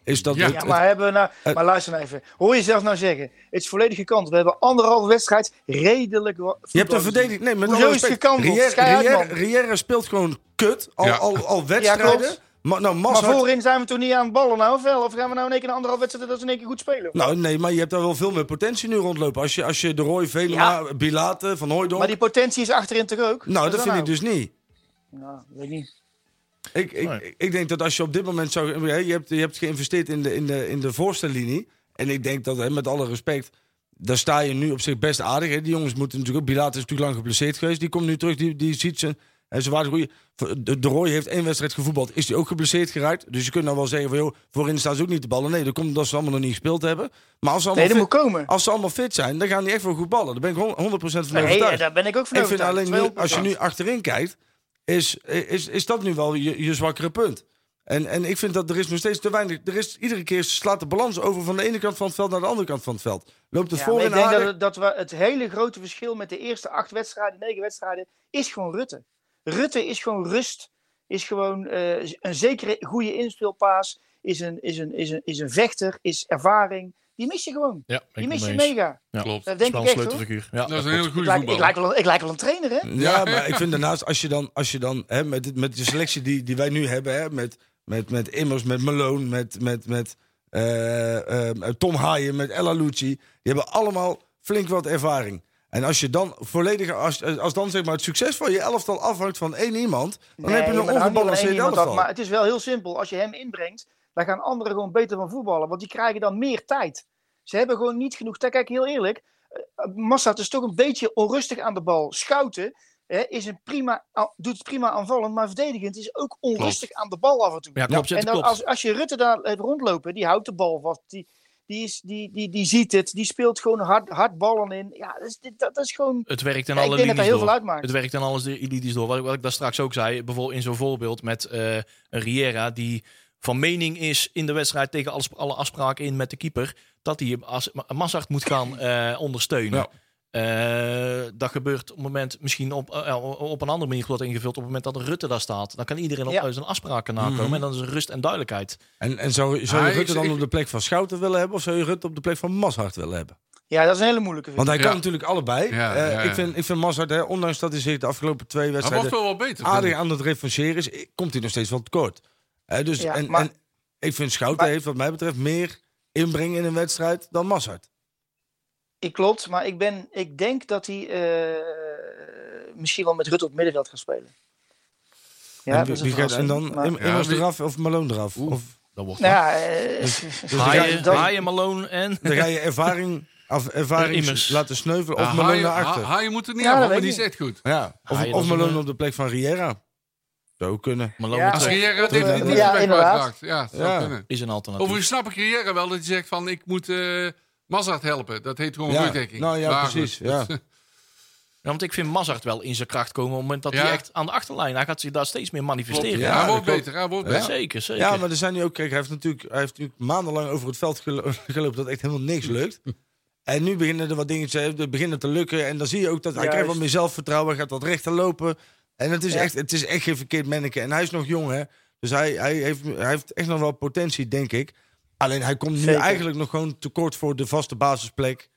S5: Is dat
S6: Ja,
S5: het-
S7: Ja,
S5: het-
S7: maar, hebben we nou,
S5: eh,
S7: maar luister nou even. Hoor je zelf nou zeggen, het is volledig gekant. We hebben anderhalve wedstrijd redelijk wa-
S5: je hebt een
S7: voetbal gezien.
S5: verdediging... Nee, met
S7: Hoezo
S5: alle
S7: is
S5: respect,
S7: gekanteld?
S5: Rier-
S7: Schei uit,
S5: Rier-
S7: man.
S5: Riera speelt gewoon kut, al,
S6: Ja.
S5: al, al wedstrijden.
S7: klopt.
S5: maar, nou,
S7: Maar
S5: Mazhar-
S7: voorin zijn we toch niet aan het ballen nou, of wel? Of gaan we nou in één keer een anderhalve wedstrijd dat we in één keer goed spelen?
S5: Nou, nee, maar je hebt daar wel veel meer potentie nu rondlopen. Als je, als je de Roy, Velema, Bilate, Van Hooijdonk...
S7: maar die potentie is achterin toch ook?
S5: Nou, dat
S7: Wat dan
S5: vind ik dus niet.
S7: Nou, dat weet ik niet.
S5: Ik, ik,
S4: Nee.
S5: ik denk dat als je op dit moment zou. hè, Je hebt, je hebt geïnvesteerd in de, in, de, in de voorste linie. En ik denk dat, hè, met alle respect. Daar sta je nu op zich best aardig. Hè? Die jongens moeten natuurlijk ook. Bilater is natuurlijk lang geblesseerd geweest. Die komt nu terug. Die, die ziet ze. En ze waren goeie. De, de Roy heeft één wedstrijd gevoetbald. Is die ook geblesseerd geraakt? Dus je kunt nou wel zeggen van joh, voorin staan ze ook niet te ballen. Nee, dat komt omdat ze allemaal nog niet gespeeld hebben. Maar als ze allemaal,
S7: Nee, dat moet
S5: fit,
S7: komen.
S5: als ze allemaal fit zijn, dan gaan die echt wel goed ballen. Daar ben ik hon- 100% van
S7: Nee,
S5: overtuigd.
S7: daar ben ik ook van
S5: Ik vind
S7: overtuigd.
S5: alleen nu,
S7: 200%.
S5: als je nu achterin kijkt, is, is, is dat nu wel je, je zwakkere punt. En, en ik vind dat er is nog steeds te weinig. Er is iedere keer slaat de balans over van de ene kant van het veld naar de andere kant van het veld. Loopt het
S7: Ja, maar
S5: voor
S7: ik
S5: en
S7: denk dat,
S5: aardig.
S7: we- dat we het hele grote verschil met de eerste acht wedstrijden, negen wedstrijden, is gewoon Rutte. Rutte is gewoon rust, is gewoon eh, een zekere goede inspeelpaas, is een, is, een, is, een, is een vechter, is ervaring. Die mis je gewoon.
S4: Ja, ben
S7: Die
S4: ik
S7: mis je
S4: mee eens.
S7: mega.
S4: Ja.
S6: Klopt.
S7: Dat
S4: Dat is
S7: denk
S4: wel een
S7: ik echt hoor.
S4: sleutelfiguur. Ja,
S6: Dat is een
S4: klopt.
S6: hele
S7: Ik
S6: goede
S7: lijk, ik, lijk
S6: voetballer.
S7: wel, ik lijk wel een trainer, hè?
S5: Ja, maar ik vind daarnaast, als je dan, als je dan hè, met, dit- met de selectie die, die wij nu hebben, hè, met, met, met Immers, met Malone, met, met, met eh, eh, Tom Haaien, met Ella Lucci, die hebben allemaal flink wat ervaring. En als je dan volledig, als, als dan zeg maar het succes van je elftal afhangt van één iemand, dan
S7: Nee,
S5: heb je
S7: maar
S5: een
S7: nou, niet
S5: ongebalanceerd
S7: alleen iemand dat,
S5: elftal.
S7: Maar het is wel heel simpel. Als je hem inbrengt, dan gaan anderen gewoon beter van voetballen. Want die krijgen dan meer tijd. Ze hebben gewoon niet genoeg tijd. Kijk, heel eerlijk. eh, Massa is toch een beetje onrustig aan de bal. Schouten hè, is een prima, a- doet het prima aanvallend, maar verdedigend is ook onrustig aan de bal af en toe.
S4: Ja, klopt. Ja,
S7: en dan,
S4: klopt.
S7: als, als je Rutte daar hebt rondlopen, die houdt de bal vast. Die, die, is, die, die, die ziet het. Die speelt gewoon hard, hard ballen in. Ja, dat is, dit- dat is gewoon...
S4: Het werkt in
S7: Ja, ik
S4: alle
S7: denk dat
S4: linies
S7: dat heel
S4: door.
S7: veel uitmaakt.
S4: Het werkt in alles de linies door. Wat ik, wat ik daar straks ook zei, bijvoorbeeld in zo'n voorbeeld met eh, een Riera die van mening is in de wedstrijd tegen alles, alle afspraken in met de keeper, dat hij hem als Ma- Mazart moet gaan eh, ondersteunen.
S6: Ja.
S4: Eh, dat gebeurt op het moment misschien op, eh, op een andere manier wordt ingevuld. Op het moment dat Rutte daar staat, dan kan iedereen op eh,
S7: Ja.
S4: zijn afspraken nakomen. En dan is er rust en duidelijkheid.
S5: En, en zou, zou
S6: Ah,
S5: je
S6: ik-
S5: Rutte dan
S6: ik-
S5: op de plek van Schouten willen hebben, of zou je Rutte op de plek van Mashart willen hebben?
S7: Ja, dat is een hele moeilijke.
S5: Want hij kan
S6: Ja.
S5: natuurlijk allebei.
S6: Ja,
S5: Eh,
S6: ja, ja.
S5: Ik vind, ik vind Mashart, hè, ondanks dat hij zich de afgelopen twee
S6: Hij
S5: wedstrijden
S6: wordt wel wat beter.
S5: aardig aan het revancheren is, eh, komt hij nog steeds wel tekort. Eh, dus,
S7: Ja,
S5: en,
S7: maar-
S5: en ik vind Schouten
S7: maar-
S5: heeft wat mij betreft meer inbreng in een wedstrijd dan Massard.
S7: Ik klopt, maar ik, ben, ik denk dat hij eh, misschien wel met Rutte op het middenveld gaat spelen. Ja,
S5: en,
S7: dat is
S5: wie
S7: een
S5: gaat- en
S7: verrassing,
S5: dan
S7: maar-
S5: Im-
S6: Ja,
S5: Immers
S6: wie-
S5: eraf of Malone eraf. Of,
S4: Dat wordt
S7: Nou ja, eh,
S5: Dus
S4: haaien,
S7: dat-
S4: haaien, Malone en...
S5: dan ga je ervaring, af, ervaring
S4: Immers.
S5: laten sneuvelen of
S6: Of
S5: Malone
S6: Haaien
S5: naar achter.
S6: Ha- Haaien moet er niet
S7: Ja,
S6: aan,
S7: dat
S6: maar
S7: weet
S6: die
S7: ik
S6: is echt goed.
S5: ja, of,
S4: Haaien, dat
S5: of
S4: is een,
S5: Malone
S4: eh,
S5: op de plek van Riera. Zou kunnen.
S4: Malone
S7: Ja.
S6: Als
S4: terug
S6: Riera dit
S5: Ja,
S6: dit is
S7: inderdaad.
S6: weg kwijtraakt. Ja, dat zou
S5: Ja.
S6: kunnen.
S4: is een alternatief.
S6: Overigens snap ik Riera wel dat hij zegt van ik moet eh Mazart helpen. Dat heet gewoon
S5: Ja.
S6: rugdekking.
S5: Nou ja,
S6: Maar
S5: precies,
S6: goed,
S5: ja.
S6: dat-
S4: Ja, want ik vind Mazart wel in zijn kracht komen op het moment dat
S6: Ja.
S4: hij echt aan de achterlijn... Hij gaat zich daar steeds meer manifesteren.
S5: Ja,
S6: hij
S5: dat
S6: wordt
S5: klopt.
S6: beter. Hij wordt
S5: Ja.
S6: beter.
S4: Zeker, zeker.
S5: Ja, maar er zijn nu ook, kijk, hij heeft natuurlijk, hij heeft natuurlijk maandenlang over het veld gelo- gelopen dat echt helemaal niks lukt.
S7: Hm.
S5: En nu beginnen er wat dingetjes, hè, er beginnen te lukken. En dan zie je ook dat hij
S7: Juist.
S5: krijgt wat meer zelfvertrouwen, gaat wat rechter lopen. En het is,
S7: Ja.
S5: echt, het is echt geen verkeerd manneke. En hij is nog jong, hè. Dus hij, hij, heeft, hij heeft echt nog wel potentie, denk ik. Alleen hij komt nu
S7: Zeker.
S5: eigenlijk nog gewoon tekort voor de vaste basisplek.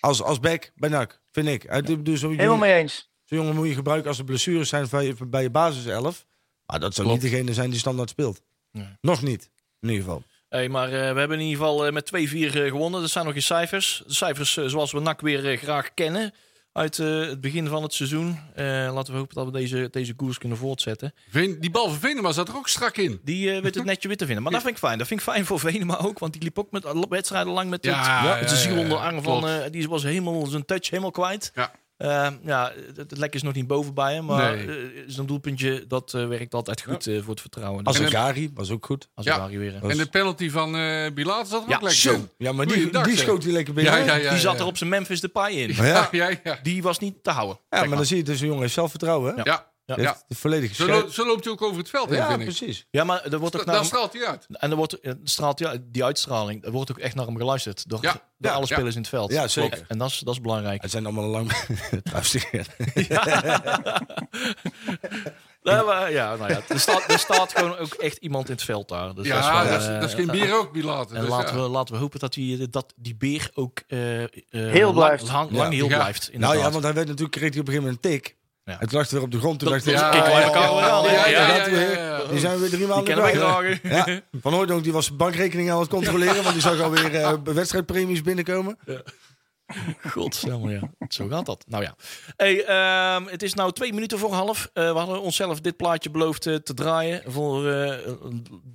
S5: Als, als back bij NAC, vind ik. Hij, dus zo'n
S7: helemaal
S5: jongen,
S7: mee eens.
S5: zo'n jongen moet je gebruiken als er blessures zijn bij je, bij je basiself. Maar dat zou
S4: Klopt.
S5: niet degene zijn die standaard speelt.
S4: Nee.
S5: Nog niet, in ieder geval.
S4: Hey, maar eh, we hebben in ieder geval eh, met 2-4 eh, gewonnen. Dat zijn nog geen cijfers. De cijfers eh, zoals we NAC weer eh, graag kennen uit eh, het begin van het seizoen. Eh, laten we hopen dat we deze, deze koers kunnen voortzetten.
S6: Veen- die bal van Venema zat er ook strak in.
S4: Die eh weet het netje wit te vinden. Maar dat vind ik fijn. Dat vind ik fijn voor Venema ook. Want die liep ook met alle wedstrijden lang met,
S6: Ja,
S4: het,
S6: ja,
S4: met de ziel
S6: ja, ja,
S4: onder de arm van...
S6: klopt.
S4: eh, die was helemaal zijn touch helemaal kwijt.
S6: Ja.
S4: Eh, ja, het, het lek is nog niet boven bij hem. Maar
S6: Nee.
S4: eh, zo'n doelpuntje, dat eh, werkt altijd goed eh, voor het vertrouwen.
S5: Als
S4: Dus,
S5: een
S6: En
S5: Gari was ook goed.
S4: als
S6: Ja.
S4: we daar hier weer...
S6: En de penalty van eh Bilater zat er
S4: Ja,
S6: ook lekker
S5: Zo.
S6: in.
S5: Ja, maar die,
S6: Goeiedag,
S5: die
S6: zeg.
S5: schoot hij lekker binnen.
S6: Ja, ja, ja,
S4: die zat
S6: ja.
S4: er op zijn Memphis Depay in.
S5: Maar
S6: Ja,
S5: ja,
S6: ja, ja.
S4: Die was niet te houden.
S5: ja,
S4: zeg
S5: maar dan zie je dus een jongen heeft zelfvertrouwen. Hè?
S6: ja. ja.
S5: Die heeft de volledige
S6: Zo,
S5: scheid.
S6: loopt- zo loopt hij ook over het veld heen,
S5: Ja,
S6: vind ik.
S5: precies.
S4: Ja, maar er wordt
S6: Da-
S4: ook
S6: Daar
S4: naar hem,
S6: straalt hij uit.
S4: en er wordt eh, straalt ja, die uitstraling, er wordt ook echt naar hem geluisterd door,
S6: Ja,
S4: door
S6: ja,
S4: alle
S6: ja.
S4: spelers in het veld.
S5: Ja, zeker.
S4: Klopt. En dat is, dat is belangrijk.
S5: Het zijn allemaal lang. Trouwens, Nou
S4: Ja, maar, ja, nou ja, er, staat, er staat gewoon ook echt iemand in het veld daar. Dus dat is
S6: Ja,
S4: wel,
S6: dat is,
S4: eh,
S6: dat is geen bier ook, Bilater.
S4: En
S6: Dus
S4: laten,
S6: ja.
S4: we, laten we hopen dat die, dat die beer ook eh, eh, lang-
S7: blijft.
S4: Lang, lang
S5: Ja.
S4: heel
S6: Ja.
S4: blijft.
S5: nou
S4: Inderdaad.
S5: ja, want hij werd natuurlijk, kreeg hij op een gegeven moment een tik.
S4: Ja.
S5: Het lag weer op de grond. Toen
S4: Dat-
S5: dacht hij, "Oh,
S4: dat-
S5: ja,
S4: kijk, wij elkaar weer aan, hè?
S5: ja,
S4: Ja,
S5: ja,
S6: ja,
S5: dat weer.
S6: ja, ja.
S5: Die zijn weer drie
S4: die
S5: maanden
S4: kennen we
S5: kwijt, hè?
S4: graag. hè.
S5: Ja, Van Hooydonk die was zijn bankrekening aan het controleren, want die zag alweer eh wedstrijdpremies binnenkomen.
S4: God, ja. Zo gaat dat. Nou ja. Hey, ehm, het is nou twee minuten voor half. Eh, we hadden onszelf dit plaatje beloofd eh, te draaien voor eh,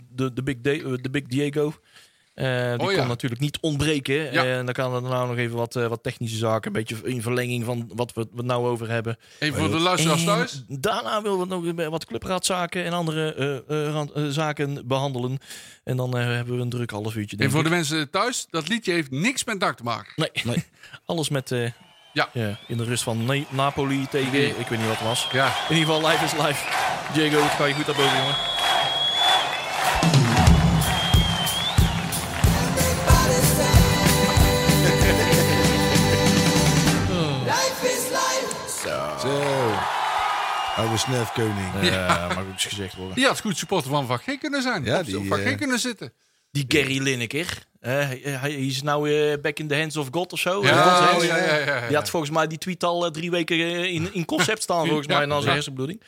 S4: de, de, Big Da- eh, de Big Diego. Eh, die
S6: Oh ja.
S4: kon natuurlijk niet ontbreken.
S6: Ja.
S4: En dan kan er daarna nog even wat, eh, wat technische zaken. Een beetje in verlenging van wat we het nou over hebben.
S6: Even voor de luisteraars
S4: En
S6: thuis.
S4: Daarna willen we nog wat clubraadzaken en andere eh, eh, rand- eh, zaken behandelen. En dan eh, hebben we een druk half uurtje.
S6: En
S4: Denk
S6: voor de
S4: ik.
S6: mensen thuis, dat liedje heeft niks met dak te maken.
S4: Nee, alles met eh,
S6: Ja.
S4: ja, in de rust van Na- Napoli tegen. Ik weet niet wat het was.
S6: Ja.
S4: In ieder geval, live is live. Diego, het ga je goed naar boven, jongen.
S5: Zo. Oude snerfkoning.
S4: Ja, mag ook eens gezegd worden.
S6: Die had goed supporter van Van Geel kunnen zijn.
S5: Ja,
S6: Of
S5: die,
S6: Van Geel
S5: eh,
S6: kunnen zitten.
S4: Die Gary Lineker. eh, eh, hij- hij hij is nou eh, back in the hands of God of zo.
S6: Ja,
S4: Eh,
S6: ja,
S4: Hans
S6: ja,
S4: Hens.
S6: ja, ja,
S4: Die
S6: ja.
S4: had volgens mij die tweet al eh, drie weken eh, in, in concept staan, volgens
S6: Ja.
S4: mij, na zijn
S6: Ja.
S4: hersenbloeding.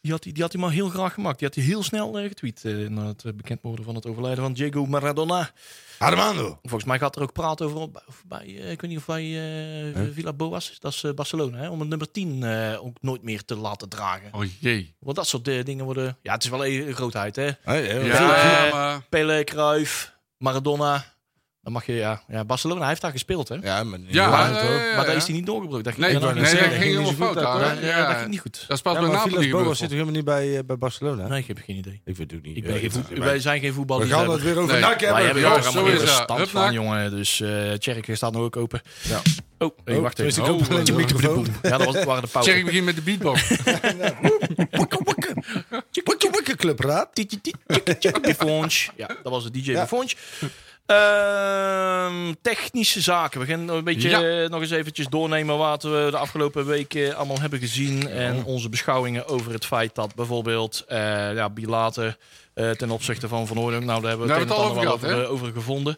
S4: Die had, hij- die had hij maar heel graag gemaakt. Die had hij heel snel eh, getweet eh, na het eh, bekend worden van het overlijden van Diego Maradona.
S5: Armando.
S4: Volgens mij gaat er ook praten over op- of bij, eh, ik weet niet of bij eh, Villa Boas, dat is eh, Barcelona, hè, om een nummer 10 eh, ook nooit meer te laten dragen.
S6: Oh jee.
S4: Want dat soort eh, dingen worden, ja, het is wel een grootheid, hè?
S5: Hey, hey,
S6: Ja,
S4: Veel-
S6: ja, maar...
S4: Pele, Cruyff, Maradona. Dan mag je, ja, ja Barcelona hij heeft daar gespeeld, hè?
S5: Ja, maar niet
S6: Ja,
S5: waar,
S6: ja,
S5: hoor.
S6: ja, ja.
S4: Maar daar is hij niet doorgebroken. Daar ging
S6: Nee,
S4: hij
S6: nee,
S4: nog
S5: wou
S6: nee,
S4: niet
S5: net
S6: dat
S5: zeggen,
S4: zeggen.
S6: ging
S5: ging niet zo
S6: helemaal fout.
S5: goed uit,
S6: hoor.
S4: Ja, ja, dat ging niet goed.
S6: Dat is pas
S5: Ja,
S6: bij
S5: maar
S6: Napoli
S5: Vilas Boas
S6: gebeurd.
S5: zit toch helemaal niet bij, eh, bij Barcelona?
S4: Nee, ik heb geen idee.
S5: Ik weet het ook niet.
S4: Ik ben
S5: Ja,
S4: geen
S5: ja,
S4: voet-
S5: maar-
S4: wij zijn geen
S5: we gaan het
S4: voetballers.
S5: weer over
S6: Nee.
S5: NAC
S4: Wij
S5: hebben.
S4: hebben
S6: Ja,
S4: er
S6: zo
S4: allemaal weer
S6: is
S4: een
S6: dat.
S4: stand
S6: Hup,
S4: van,
S6: nak.
S4: jongen. Dus eh Tjerk staat nog ook open.
S5: Ja.
S4: Oh, nee, wacht
S5: tenminste,
S4: even.
S5: ik
S6: Oh,
S5: hoop alleen de
S6: eh,
S5: microfoon.
S4: Ja, dat was, waren de pauze.
S6: Tjerk begint met de beatbox.
S5: Wikkie wikkie clubraad.
S4: Tiet, tiet, tiet, tjik, tjik, De Fonch. Ja, dat was het DJ
S5: Ja.
S4: De Fonch. Ehm, technische zaken. We gaan een beetje
S6: Ja.
S4: eh, nog eens eventjes doornemen wat we de afgelopen weken allemaal hebben gezien. En onze beschouwingen over het feit dat bijvoorbeeld eh ja, Bilate eh, ten opzichte van Van Hooydonk. Nou, daar hebben we
S6: Daar
S4: het een
S6: hebben we
S4: en
S6: het
S4: ander
S6: al
S4: wel
S6: over
S4: over, eh, over gevonden.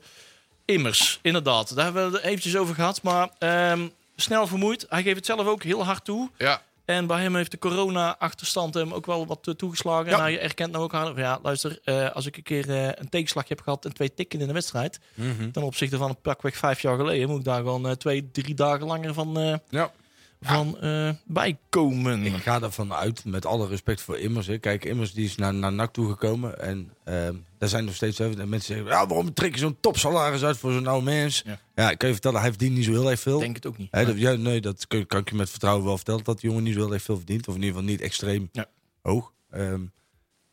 S4: Immers, inderdaad. Daar hebben we het eventjes over gehad. Maar ehm, snel vermoeid. Hij geeft het zelf ook heel hard toe.
S6: Ja.
S4: En bij hem heeft de corona-achterstand hem ook wel wat eh, toegeslagen. En hij erkent nou ook aan, van ja, luister, eh, als ik een keer eh, een tegenslag heb gehad en twee tikken in de wedstrijd, ten opzichte van een pakweg vijf jaar geleden, moet ik daar gewoon eh, twee, drie dagen langer van, eh,
S6: Ja.
S4: van eh, bijkomen.
S5: Ik ga ervan uit, met alle respect voor Immers. Hè. Kijk, Immers die is naar, naar NAC toegekomen. En ehm, daar zijn nog steeds even mensen die zeggen... Ja, waarom trek je zo'n topsalaris uit voor zo'n oude mens?
S4: Ja.
S5: Ja. ik kan je vertellen, hij verdient niet zo heel erg
S4: Ik
S5: veel.
S4: denk het ook niet.
S5: Hè, dat- ja, nee, dat kun- kan ik je met vertrouwen wel vertellen. Dat die jongen niet zo heel erg veel verdient. Of in ieder geval niet extreem
S4: Ja.
S5: hoog. Ehm,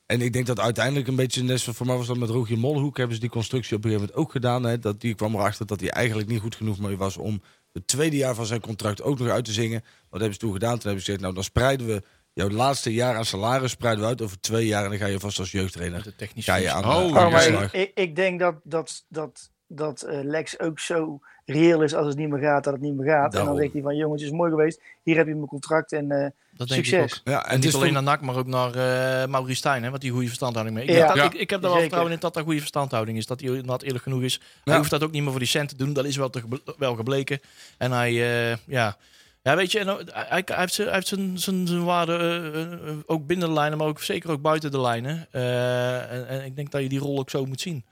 S5: en ik denk dat uiteindelijk een beetje... Net zoals voor mij was dat met Rogier Molhoek. Hebben ze die constructie op een gegeven moment ook gedaan. Hè, dat, die kwam erachter dat hij eigenlijk niet goed genoeg mee was... om het tweede jaar van zijn contract ook nog uit te zingen. Wat hebben ze toen gedaan? Toen hebben ze gezegd... Nou, dan spreiden we jouw laatste jaar aan salaris spreiden we uit over twee jaar. En dan ga je vast als jeugdtrainer...
S4: De technische
S5: Ga je aan,
S6: Oh,
S5: aan
S6: maar
S5: de
S7: maar
S5: slag.
S7: ik, ik, ik denk dat, dat, dat, dat eh, Lex ook zo reëel is als het niet meer gaat, dat het niet meer gaat. En
S5: Daarom.
S7: dan zegt hij van jongens, het is mooi geweest. Hier heb je mijn contract en eh,
S4: dat denk ik ook.
S7: succes.
S5: Ja, en dus
S4: En
S5: het
S4: niet
S5: is
S4: alleen
S5: van-
S4: naar NAC, maar ook naar eh Maurice Stijn, hè, wat die goede verstandhouding mee. Ik,
S7: Ja.
S4: denk dat-
S6: Ja.
S4: ik, ik heb daar wel
S7: Zeker.
S4: vertrouwen in dat dat goede verstandhouding is. Dat hij inderdaad eerlijk genoeg is. Hij
S5: Ja.
S4: hoeft dat ook niet meer voor die cent te doen. Dat is wel, te, geble- wel gebleken. En hij, eh, ja... Ja, weet je, en, eh, hij, hij heeft, zijn- hij heeft zijn, zijn, zijn waarde eh, eh, eh, ook binnen de lijnen, maar ook zeker ook buiten de lijnen. Eh, en, en ik denk dat je die rol ook zo moet zien.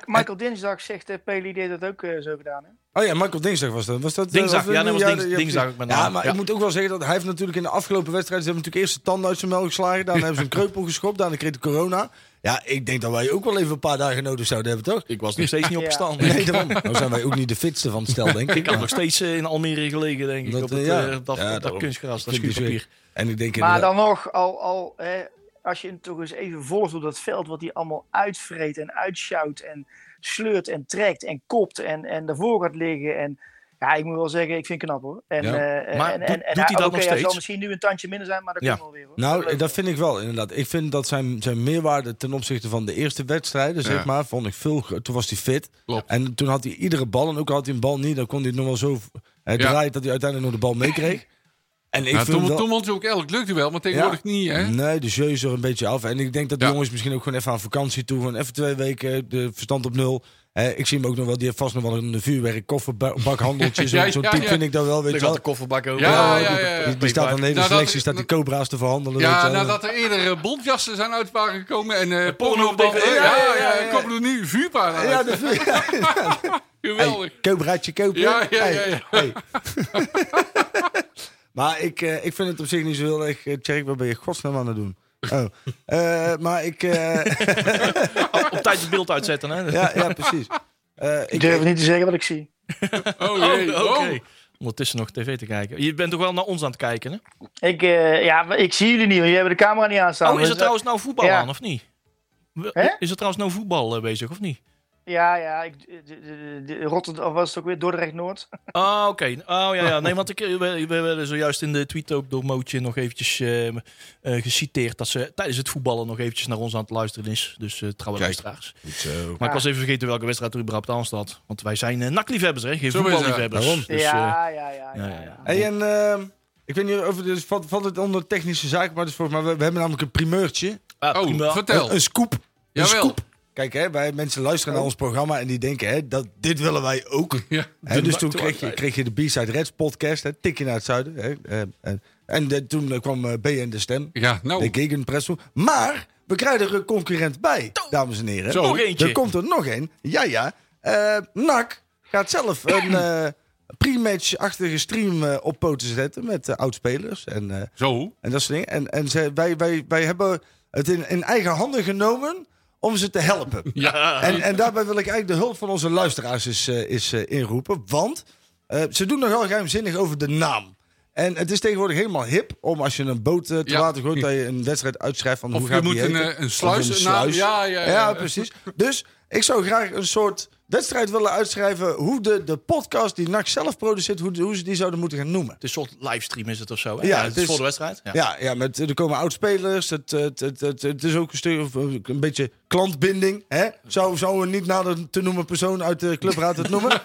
S7: Mike- Michael Dinsdag zegt, eh Peli die heeft dat ook eh, zo gedaan. Hè?
S5: Oh ja, Michael Dinsdag was dat. Was dat eh,
S4: Dinsdag,
S5: was
S4: ja, dat was dings-
S5: precies.
S4: dinsdag ook met
S5: Ja,
S4: name.
S5: maar
S4: Ja.
S5: ik moet ook wel zeggen dat hij heeft natuurlijk in de afgelopen wedstrijden... Ze hebben natuurlijk eerst zijn tanden uit zijn melk geslagen. Daarna hebben ze een kreupel geschopt. Daarna kreeg de corona. Ja, ik denk dat wij ook wel even een paar dagen nodig zouden hebben, toch?
S4: Ik was nog steeds niet
S7: Ja.
S4: opgestaan.
S5: Nee, daarom. Nou zijn wij ook niet de fitste van het stel, denk ik.
S4: Ik had nog steeds eh, in Almere gelegen, denk ik,
S5: Dat,
S4: op het,
S5: eh, ja.
S4: eh, dat,
S5: Ja,
S4: op dat
S5: daarom.
S4: kunstgras, dat
S5: Vind ik dus
S4: schuurpapier.
S5: En ik denk
S7: Maar
S5: inderdaad-
S7: dan nog, al, al, hè, als je hem toch eens even volgt op dat veld, wat hij allemaal uitvreet en uitsjouwt en sleurt en trekt en kopt en, en daarvoor gaat liggen. En ja, ik moet wel zeggen, ik vind het knap hoor. En,
S5: Ja.
S7: eh,
S4: Maar
S7: en,
S4: doet-
S7: en,
S4: doet hij
S7: en,
S4: dat
S7: oké,
S4: nog
S7: Hij
S4: steeds?
S7: zal misschien nu een tandje minder zijn, maar dat
S4: Ja.
S7: komt wel weer. Hoor.
S5: Nou,
S7: Leuk.
S5: dat vind ik wel, inderdaad. Ik vind dat zijn, zijn meerwaarde ten opzichte van de eerste wedstrijden,
S6: Ja.
S5: zeg maar, vond ik veel... gro- Toen was hij fit.
S6: Klopt.
S5: En toen had hij iedere bal, en ook al had hij een bal niet... dan kon hij het nog wel zo eh,
S6: Ja.
S5: draaien dat hij uiteindelijk nog de bal meekreeg. En ik
S6: Ja,
S5: vind
S6: toen,
S5: wel-
S6: toen won ze ook elk lukte wel, maar tegenwoordig niet, hè?
S5: Nee, de jeu is er een beetje af. En ik denk dat de
S6: Ja.
S5: jongens misschien ook gewoon even aan vakantie toe. Gewoon even twee weken, de verstand op nul. Eh, ik zie hem ook nog wel, die heeft vast nog wel een vuurwerk kofferbakhandeltje. Zo'n
S6: Ja,
S5: zo'n
S6: ja,
S5: type
S6: ja.
S5: vind ik dat wel, weet
S4: Ik
S5: je
S4: had
S5: wel.
S4: de kofferbak ook.
S6: Ja, ja, ja, ja.
S5: Die, die staat aan de hele
S6: Nou, dat-
S5: selectie, staat die cobra's te verhandelen. weet
S6: Ja,
S5: je wel.
S6: nadat er eerder eh, bontjassen zijn uit waren gekomen en eh
S4: porno
S6: porno
S4: op DVD.
S6: Ja, ja,
S5: Ja, ja,
S6: ja,
S5: ja.
S6: komen er nu vuurpaarden uit.
S5: ja, de vuur-
S6: Geweldig.
S5: Hey, Cobraatje kopen.
S6: Ja, ja, ja,
S5: Hey,
S6: ja.
S5: hey. maar ik, eh, ik vind het op zich niet zo heel erg... eh, Tjerk, wat ben je godsnaam aan het doen? Oh. Eh, maar ik... eh,
S4: Op tijd het beeld uitzetten, hè?
S5: ja, ja, precies. Eh, ik,
S7: Ik durf niet te zeggen wat ik zie.
S6: Oh,
S4: Oh,
S6: jee.
S4: oké.
S6: Oh.
S4: Ondertussen nog tv te kijken. Je bent toch wel naar ons aan het kijken, hè?
S7: Ik, eh, ja, maar ik zie jullie niet, want jullie hebben de camera niet aan staan.
S4: Oh, is
S7: Dus,
S4: er
S7: eh,
S4: trouwens nou voetbal
S7: ja.
S4: aan, of niet? We-
S7: Hè?
S4: Is er trouwens nou voetbal eh, bezig, of niet?
S7: Ja, ja. Ik, de, de- de- de- Rotterdam of was het ook weer Dordrecht-Noord.
S4: Oh, oké. Oh, ja, ja. Nee, want ik, eh, we, we werden zojuist in de tweet ook door Mootje nog eventjes eh, eh, geciteerd... dat ze tijdens het voetballen nog eventjes naar ons aan het luisteren is. Dus eh trouwe
S5: Kijk.
S4: luisteraars.
S5: Goed zo.
S4: Maar ik
S7: Ja.
S4: was even vergeten welke wedstrijd er überhaupt aan staat. Want wij zijn eh nakliefhebbers, hè? Geen
S6: Zo is het.
S5: Daarom.
S4: voetballiefhebbers. Dus, eh,
S7: ja, ja, ja, ja,
S4: ja, ja.
S7: ja.
S5: Hey, en ehm, ik weet niet of het dus valt, valt het onder technische zaken, maar dus volgens mij, we, we hebben namelijk een primeurtje.
S4: ah,
S6: Oh,
S4: prima.
S6: vertel.
S5: Een, een scoop. Een
S6: Jawel. Oh.
S5: scoop. Kijk, hè, wij mensen luisteren naar ons programma en die denken, hè, dat, dit willen wij ook.
S6: Ja.
S5: Hè, dus toen kreeg je, kreeg je de B-Side Reds podcast, hè, Tikje naar het Zuiden. Hè, eh, en en de- toen eh, kwam eh, BN de Stem,
S6: Ja, nou.
S5: de Gegenpresso. Maar we krijgen er een concurrent bij, dames en heren.
S4: Zo. Nog eentje.
S5: Er komt er nog een. Ja, ja. Eh NAC gaat zelf een eh, pre-match-achtige stream eh, op poten zetten met eh, oudspelers en... eh,
S6: Zo.
S5: en dat soort dingen. En, en ze, wij, wij, wij hebben het in, in eigen handen genomen om ze te helpen.
S6: Ja.
S5: En, en daarbij wil ik eigenlijk de hulp van onze luisteraars is, eh, is, eh, inroepen. Want eh, ze doen nogal geheimzinnig over de naam. En het is tegenwoordig helemaal hip om als je een boot eh, te
S6: Ja.
S5: water gooit... dat je een wedstrijd uitschrijft van
S6: Of
S5: hoe
S6: je
S5: gaat die
S6: moet een,
S5: heten.
S6: eh, een sluis-
S5: Of
S6: een naam. Ja, ja, ja.
S5: precies. Dus ik zou graag een soort wedstrijd willen uitschrijven... hoe de, de podcast die NAC zelf produceert... Hoe, hoe ze die zouden moeten gaan noemen.
S4: Het is een soort livestream is het of zo. Hè?
S5: Ja,
S4: Ja, het
S5: het
S4: is
S5: is-
S4: voor de wedstrijd. Ja.
S5: Ja, ja met, er komen oud-spelers. Het, het, het, het, het is ook een, stuk, of een beetje klantbinding. Hè? Zou, zou een niet nader te noemen persoon uit de clubraad het noemen?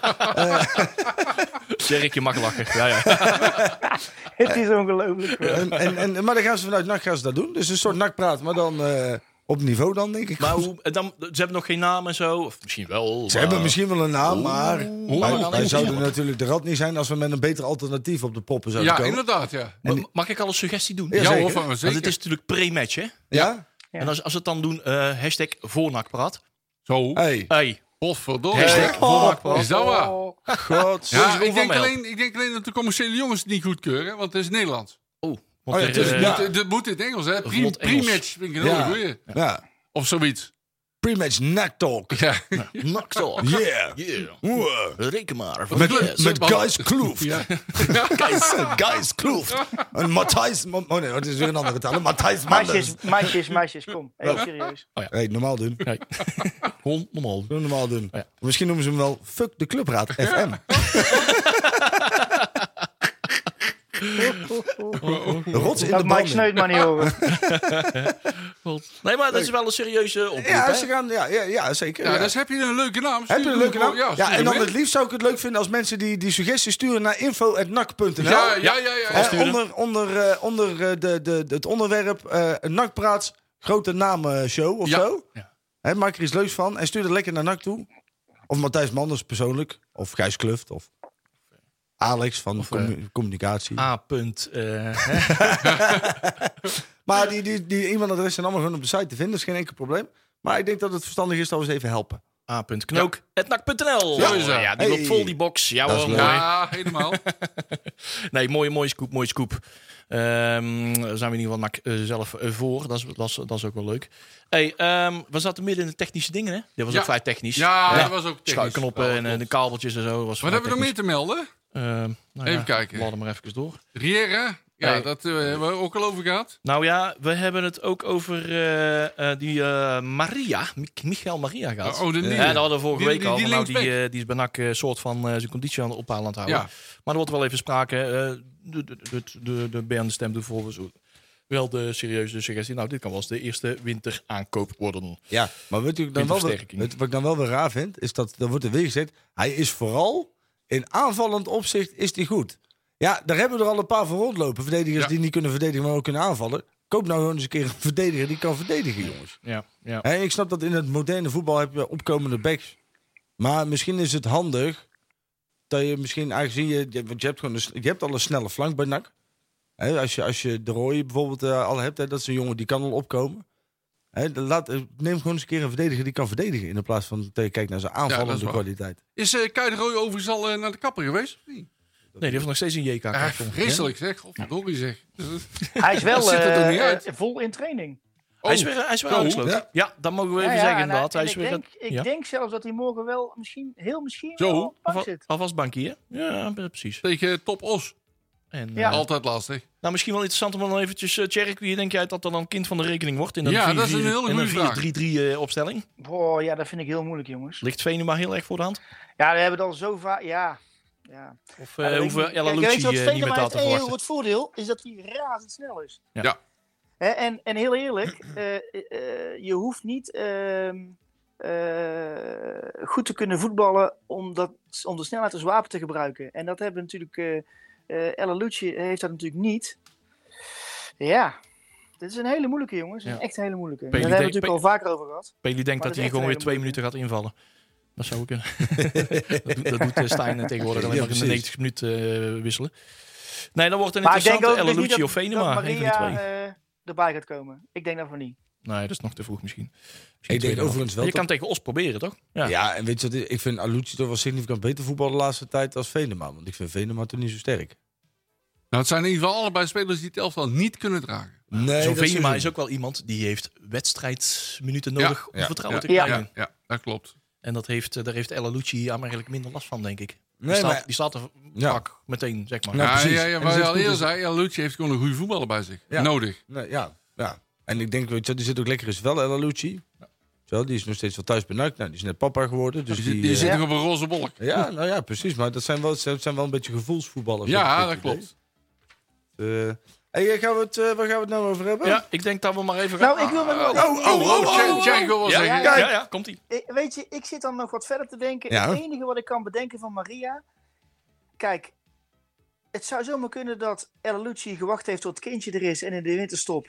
S4: Dirk, je mag lachen. Ja, ja.
S7: Het is ongelooflijk. hoor.
S5: en, en, en- maar dan gaan ze vanuit NAC gaan ze dat doen. Dus een soort nakpraat, maar dan eh, op niveau dan, denk ik.
S4: Maar hoe, en dan, ze hebben nog geen naam en zo. Of misschien wel.
S5: ze hebben misschien wel een naam, maar
S4: maar
S5: wij,
S4: dan
S5: wij
S4: is-
S5: zouden natuurlijk de rad niet zijn als we met een beter alternatief op de poppen zouden
S6: Ja,
S5: komen.
S6: inderdaad, ja.
S4: Ma- Mag ik al een suggestie doen?
S5: Ja,
S6: Ja,
S5: zeker.
S6: hoor, van-
S4: Want het
S6: zeker.
S4: is natuurlijk pre-match, hè?
S5: Ja?
S4: En als, als we het dan doen, eh hashtag voornakpraat.
S6: Zo.
S5: Hey. Oh,
S4: Hey, Oh,
S6: Potverdorie.
S4: hashtag voornakpraat.
S6: Is dat waar?
S7: Oh.
S5: God.
S6: Ja,
S4: Roel
S6: ik
S4: van
S6: denk,
S4: Mel.
S6: alleen, ik denk alleen dat de commerciële jongens het niet goedkeuren, want het is Nederlands.
S4: Oh,
S5: Oh ja, het
S4: want er,
S5: is-
S4: eh,
S5: ja.
S6: Dat, dat moet in het Engels, hè? Pre-
S4: Vlot Engels.
S6: Pre-match vind ik een
S5: Ja.
S6: hele goeie.
S5: Ja.
S6: Of zoiets.
S5: Pre-match NAC talk.
S6: Ja.
S4: Naktalk.
S5: Yeah.
S4: Yeah.
S5: Oeh.
S4: Reken maar.
S5: Met,
S4: Yes.
S5: met Guys Kloof.
S6: ja.
S5: Guys, Guys eh, Kloeft. En Matthijs... Ma- Oh nee, dat is weer een andere taal. Matthijs Manders.
S7: Meisjes, meisjes, meisjes, kom. Even serieus.
S5: Hey, normaal doen.
S4: Nee. Gewoon normaal.
S5: Doe normaal doen.
S6: Oh
S4: Ja.
S5: Misschien noemen ze hem wel Fuck de Clubraad FM. Rots in de
S7: Dat Mike
S5: banden.
S7: Sneut maar niet horen.
S4: Nee, maar dat is wel een serieuze oproep,
S5: Ja,
S4: hè?
S5: ze gaan, ja, ja, ja zeker.
S6: ja,
S5: ja.
S6: dus heb je een leuke naam.
S5: Heb je een leuke naam?
S6: Ja,
S5: Ja, en dan het liefst zou ik het leuk vinden als mensen die, die suggesties sturen naar info.nak.nl.
S6: Ja, ja, ja. ja,
S5: Eh,
S6: ja.
S5: onder onder, eh, onder eh, de, de, de- het onderwerp eh NAC-praats, grote namen show of
S6: Ja.
S5: zo.
S4: Ja.
S5: Hè, maak er iets leuks van en stuur dat lekker naar NAC toe. Of Matthijs Manders persoonlijk. Of Gijs Kluft. Of Alex van commu- Communicatie.
S4: A. Punt, eh, hè?
S5: Maar die, die, die e-mailadressen zijn allemaal gewoon op de site te vinden. Dat is geen enkel probleem. Maar ik denk dat het verstandig is dat we ze even helpen.
S4: A. Punt, knook. at nak.nl.
S6: Zo is dat.
S4: ja, die
S5: Hey.
S4: loopt vol, die box. Ja,
S5: Dat is
S4: hoor,
S5: leuk.
S4: mooi.
S6: Ja, helemaal.
S4: Nee, mooie, mooie scoop, mooie scoop. Ehm, daar zijn we in ieder geval nak, eh, zelf eh, voor. Dat is, dat, is, dat is ook wel leuk. Hey, ehm, we zaten midden in de technische dingen, hè? Dit was
S6: Ja.
S4: ook vrij technisch.
S6: Ja, dat was ook technisch.
S4: Schuikknoppen en eh, de kabeltjes en zo. Was Ehm,
S6: Wat hebben we nog meer te melden?
S4: nou
S6: Even kijken.
S4: Laat maar even door.
S6: Riera? Ja,
S4: Nee.
S6: dat eh, hebben we ook al over gehad.
S4: Nou ja, we hebben het ook over eh, eh, die eh, Maria, Mi- Michael Maria gehad.
S6: Oh, de nieuwe.
S4: Ja, dat hadden we vorige
S6: Die-
S4: week
S6: die-
S4: al.
S6: die
S4: maar nou, die,
S6: linksback.
S4: eh, die is bij NAC eh, soort van eh, zijn conditie aan het ophalen aan het houden.
S6: Ja.
S4: Maar er wordt wel even sprake. eh, de, de, de, de, de Bern stemt er volgens wel de serieuze suggestie. Nou, dit kan wel eens de eerste winteraankoop worden.
S5: Ja, maar weet u, wat ik dan wel weer,
S4: Windversterking.
S5: weet- wat ik dan wel weer raar vind, is dat dan wordt er weer gezegd, hij is vooral in aanvallend opzicht is hij goed. Ja, daar hebben we er al een paar voor rondlopen. Verdedigers
S6: Ja.
S5: die niet kunnen verdedigen, maar ook kunnen aanvallen. Koop nou gewoon eens een keer een verdediger die kan verdedigen, jongens.
S4: Ja, ja.
S5: Hè, ik snap dat in het moderne voetbal heb je opkomende backs. Maar misschien is het handig dat je misschien, aangezien je, je- want je hebt, gewoon een s- je hebt al een snelle flank bij NAC. Hè, als, je, als je de rooie bijvoorbeeld eh, al hebt, hè, dat is een jongen die kan al opkomen. Hè, dan laat, eh, neem gewoon eens een keer een verdediger die kan verdedigen. In de plaats van dat je kijkt naar zijn
S6: dat is
S5: aanvallende
S6: waar.
S5: kwaliteit.
S6: Is eh Kai de Rooij overigens al eh, naar de kapper geweest? of niet?
S4: Nee, die heeft nog steeds een JK.
S6: Ah,
S4: kaart, jongen.
S6: vreselijk zeg. Godverdorie zeg.
S7: Hij is wel
S6: ziet er toch
S7: eh,
S6: niet uit?
S7: eh, vol in training.
S4: Hij is weer, hij is weer
S6: Oh. zo.
S4: aangesloten.
S5: Ja.
S4: Ja. dat mogen we even
S7: Ja, ja,
S4: zeggen
S7: en, eh,
S4: inderdaad. Hij
S7: en
S4: is
S7: ik
S4: weer
S7: denk,
S4: aan-
S7: ik
S4: ja.
S7: denk zelfs dat hij morgen wel misschien, heel misschien
S6: Zo,
S7: wel op het bank
S4: Alva-
S7: zit.
S4: alvast bankier. Ja, precies.
S6: Tegen eh, Top Os.
S4: En,
S7: Ja.
S4: eh,
S6: Altijd lastig.
S4: Nou, misschien wel interessant om dan eventjes... eh Tjerk, wie denk jij dat dan een kind van de rekening wordt? In een
S6: Ja,
S4: 4-4
S6: dat is een hele
S4: in
S6: goede vraag.
S4: 4-3-3 eh, opstelling.
S7: Boah, ja, dat vind ik heel moeilijk, jongens.
S4: Ligt Veen maar heel erg voor de hand?
S7: Ja, we hebben het al zo vaak. Ja. Ja.
S4: Of
S7: Ja,
S4: eh
S7: dat
S4: hoeven we
S7: weet ik niet.
S4: El
S7: Kijk,
S4: Alouchi,
S7: weet je wat
S4: eh,
S7: Feyenoord
S4: niet meer aan te
S7: heeft? En heel
S4: verwachten?
S7: Het voordeel is dat hij razendsnel is.
S4: Ja.
S6: Ja.
S7: Hè, en, en heel eerlijk, eh, eh, je hoeft niet ehm, eh, goed te kunnen voetballen om, dat, om de snelheid als wapen te gebruiken. En dat hebben natuurlijk, eh eh El Alouchi heeft dat natuurlijk niet. Ja, Dit is een hele moeilijke, jongens. Een
S4: Ja.
S7: Echt een hele moeilijke.
S4: Peli
S7: Daar hebben we
S4: deed-
S7: het natuurlijk al vaker over gehad.
S4: Peli denkt
S7: Maar
S4: dat
S7: dat
S4: hij
S7: is
S4: gewoon
S7: echt
S4: weer twee
S7: een hele
S4: minuten gaat invallen. Dat zou ook kunnen. dat, doet- dat doet eh, Stijn eh, tegenwoordig alleen
S5: Ja,
S4: maar in de
S5: precies.
S4: 90 minuten eh, wisselen. Nee, dan wordt het een
S7: Maar ik denk
S4: interessante
S7: ook dus niet
S4: Lucio
S7: dat,
S4: of Venema.
S7: dat
S4: Een van die
S7: Maria
S4: twee.
S7: eh, erbij gaat komen. Ik denk daarvan niet.
S4: nee, dat is nog te vroeg misschien. Misschien
S5: denk
S4: tweede helft.
S5: overigens wel
S4: Je
S5: dat-
S4: kan hem tegen Os proberen, toch?
S5: Ja. en weet je wat? Ik vind Alucci toch wel significant beter voetbal de laatste tijd als Venema. Want ik vind Venema toch niet zo sterk.
S6: Nou, het zijn in ieder geval allebei spelers die het elftal niet kunnen dragen.
S5: Nee,
S4: Zo'n Venema is ook wel iemand die heeft wedstrijdminuten nodig om
S5: ja,
S4: vertrouwen
S6: ja,
S4: te
S7: ja.
S4: krijgen.
S6: Ja, ja dat klopt.
S4: En dat heeft, eh, daar heeft Ella Lucci aanmerkelijk minder last van, denk ik. Die,
S5: Nee,
S4: staat,
S5: maar-
S4: die staat er
S5: Ja.
S4: vaak meteen, zeg maar.
S5: Ja,
S6: Ja, ja,
S5: precies.
S6: ja,
S5: En
S6: waar
S5: zit
S6: je al
S5: goed
S6: eerder
S5: in-
S6: zei, ja, Lucci heeft gewoon een goede voetballer bij zich.
S5: Ja.
S6: Nodig.
S5: Nee, ja, ja. En ik denk, weet je, wat, die zit ook lekker is wel El Alucci. Zo, die is nog steeds wel thuis benauwd. Nou, die is net papa geworden. Dus
S6: Die,
S5: die,
S6: zit- die
S5: eh,
S6: zit
S7: Ja.
S6: nog op een roze bolk.
S5: ja, nou ja, precies. Maar dat zijn wel, dat zijn wel een beetje gevoelsvoetballers. heb ik het
S6: Ja,
S5: idee.
S6: dat klopt.
S5: Eh, hey, gaan we het, eh, waar gaan we het nou over hebben?
S4: Ja, ik denk dat we maar even...
S7: Nou, ik wil nog wel...
S5: Oh, oh, oh,
S6: Oh, Tje- Tjengo wil
S4: ja,
S6: zeggen.
S4: ja, ja, ja, komt-ie.
S7: Ik- weet je, ik zit dan nog wat verder te denken.
S5: Ja.
S7: Het enige wat ik kan bedenken van Maria. Kijk, het zou zomaar kunnen dat Elalucci gewacht heeft tot het kindje er is en in de winterstop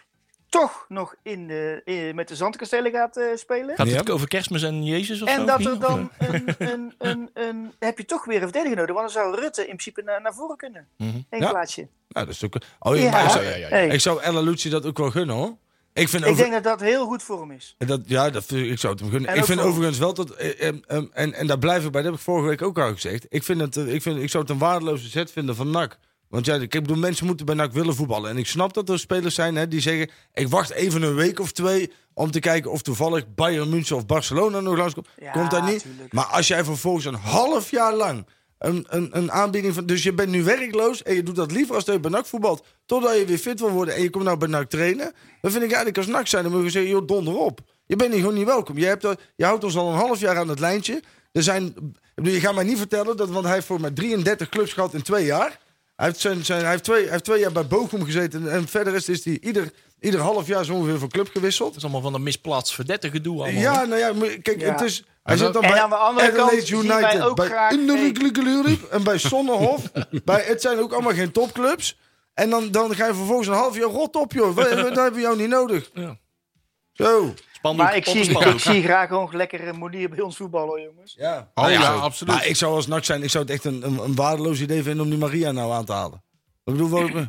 S7: toch nog in de, in- met de zandkastelen gaat eh, spelen.
S4: Gaat
S5: Ja.
S4: het over kerstmis en Jezus of zo?
S7: En dat
S4: Niet?
S7: er dan een, een, een, een- heb je toch weer een verdediger nodig, want dan zou Rutte in principe naar, naar voren kunnen.
S4: Mhm.
S7: Eén
S5: Ja.
S7: plaatsje.
S5: Nou, dat is ook... Oh, ja,
S7: Ja.
S5: maar ik zou,
S4: Ja, ja, ja, ja.
S7: Hey,
S5: ik zou El Alucci dat ook wel gunnen, hoor. Ik vind
S7: ik
S5: over...
S7: denk dat dat heel goed voor hem is.
S5: En Dat, ja, dat, vind ik ik zou het hem gunnen.
S7: En
S5: ik
S7: ook
S5: vind
S7: voor-
S5: overigens wel dat... eh, em, em, en, en daar blijf ik bij, dat heb ik vorige week ook al gezegd. Ik, vind het, eh, ik, vind, ik zou het een waardeloze zet vinden van NAC. Want ja, ik bedoel, mensen moeten bij NAC willen voetballen. En ik snap dat er spelers zijn hè, die zeggen... ik wacht even een week of twee om te kijken of toevallig Bayern München of Barcelona nog langskomt.
S7: Ja,
S5: Komt dat niet?
S7: tuurlijk.
S5: Maar als jij vervolgens een half jaar lang een, een, een aanbieding van... Dus je bent nu werkloos en je doet dat liever als dat je bij NAC voetbalt... totdat je weer fit wil worden en je komt nou bij NAC trainen... dan vind ik eigenlijk als NAC zijn, dan moet je zeggen... joh, donder op. Je bent hier gewoon niet welkom. Je, hebt, dat- je houdt ons al een half jaar aan het lijntje. Er zijn, ik bedoel, je gaat mij niet vertellen dat... want hij heeft voor mij 33 clubs gehad in twee jaar... Hij heeft, zijn, zijn, hij, heeft twee, hij heeft twee jaar bij Bochum gezeten. En, en verder is, is hij ieder, ieder half jaar zo ongeveer van club gewisseld.
S4: Dat is allemaal van een misplaatst verdette gedoe allemaal.
S5: Ja, nou ja, maar kijk,
S7: Ja.
S5: het is... Hij zit dan
S7: En
S5: bij
S7: aan de andere kant
S5: Adelaide
S7: zien
S5: United,
S7: wij ook
S5: bij
S7: graag-
S5: Indooriklikelurip en bij Sonnenhof. bij, het zijn ook allemaal geen topclubs. En dan, dan ga je vervolgens een half jaar rot op, joh. We, we- dat hebben we jou niet nodig.
S4: Ja.
S5: Zo.
S4: Spandoek,
S7: Maar
S4: op
S7: ik
S4: een
S7: zie, ik
S4: spandoek.
S7: zie graag gewoon lekker een manier bij ons voetballen, jongens.
S5: Nou Ja.
S6: Oh ja,
S5: zo.
S6: absoluut.
S5: Maar ik zou als NAC zijn, ik zou het echt een, een, een waardeloos idee vinden om die Maria nou aan te halen. Ik bedoel, wel-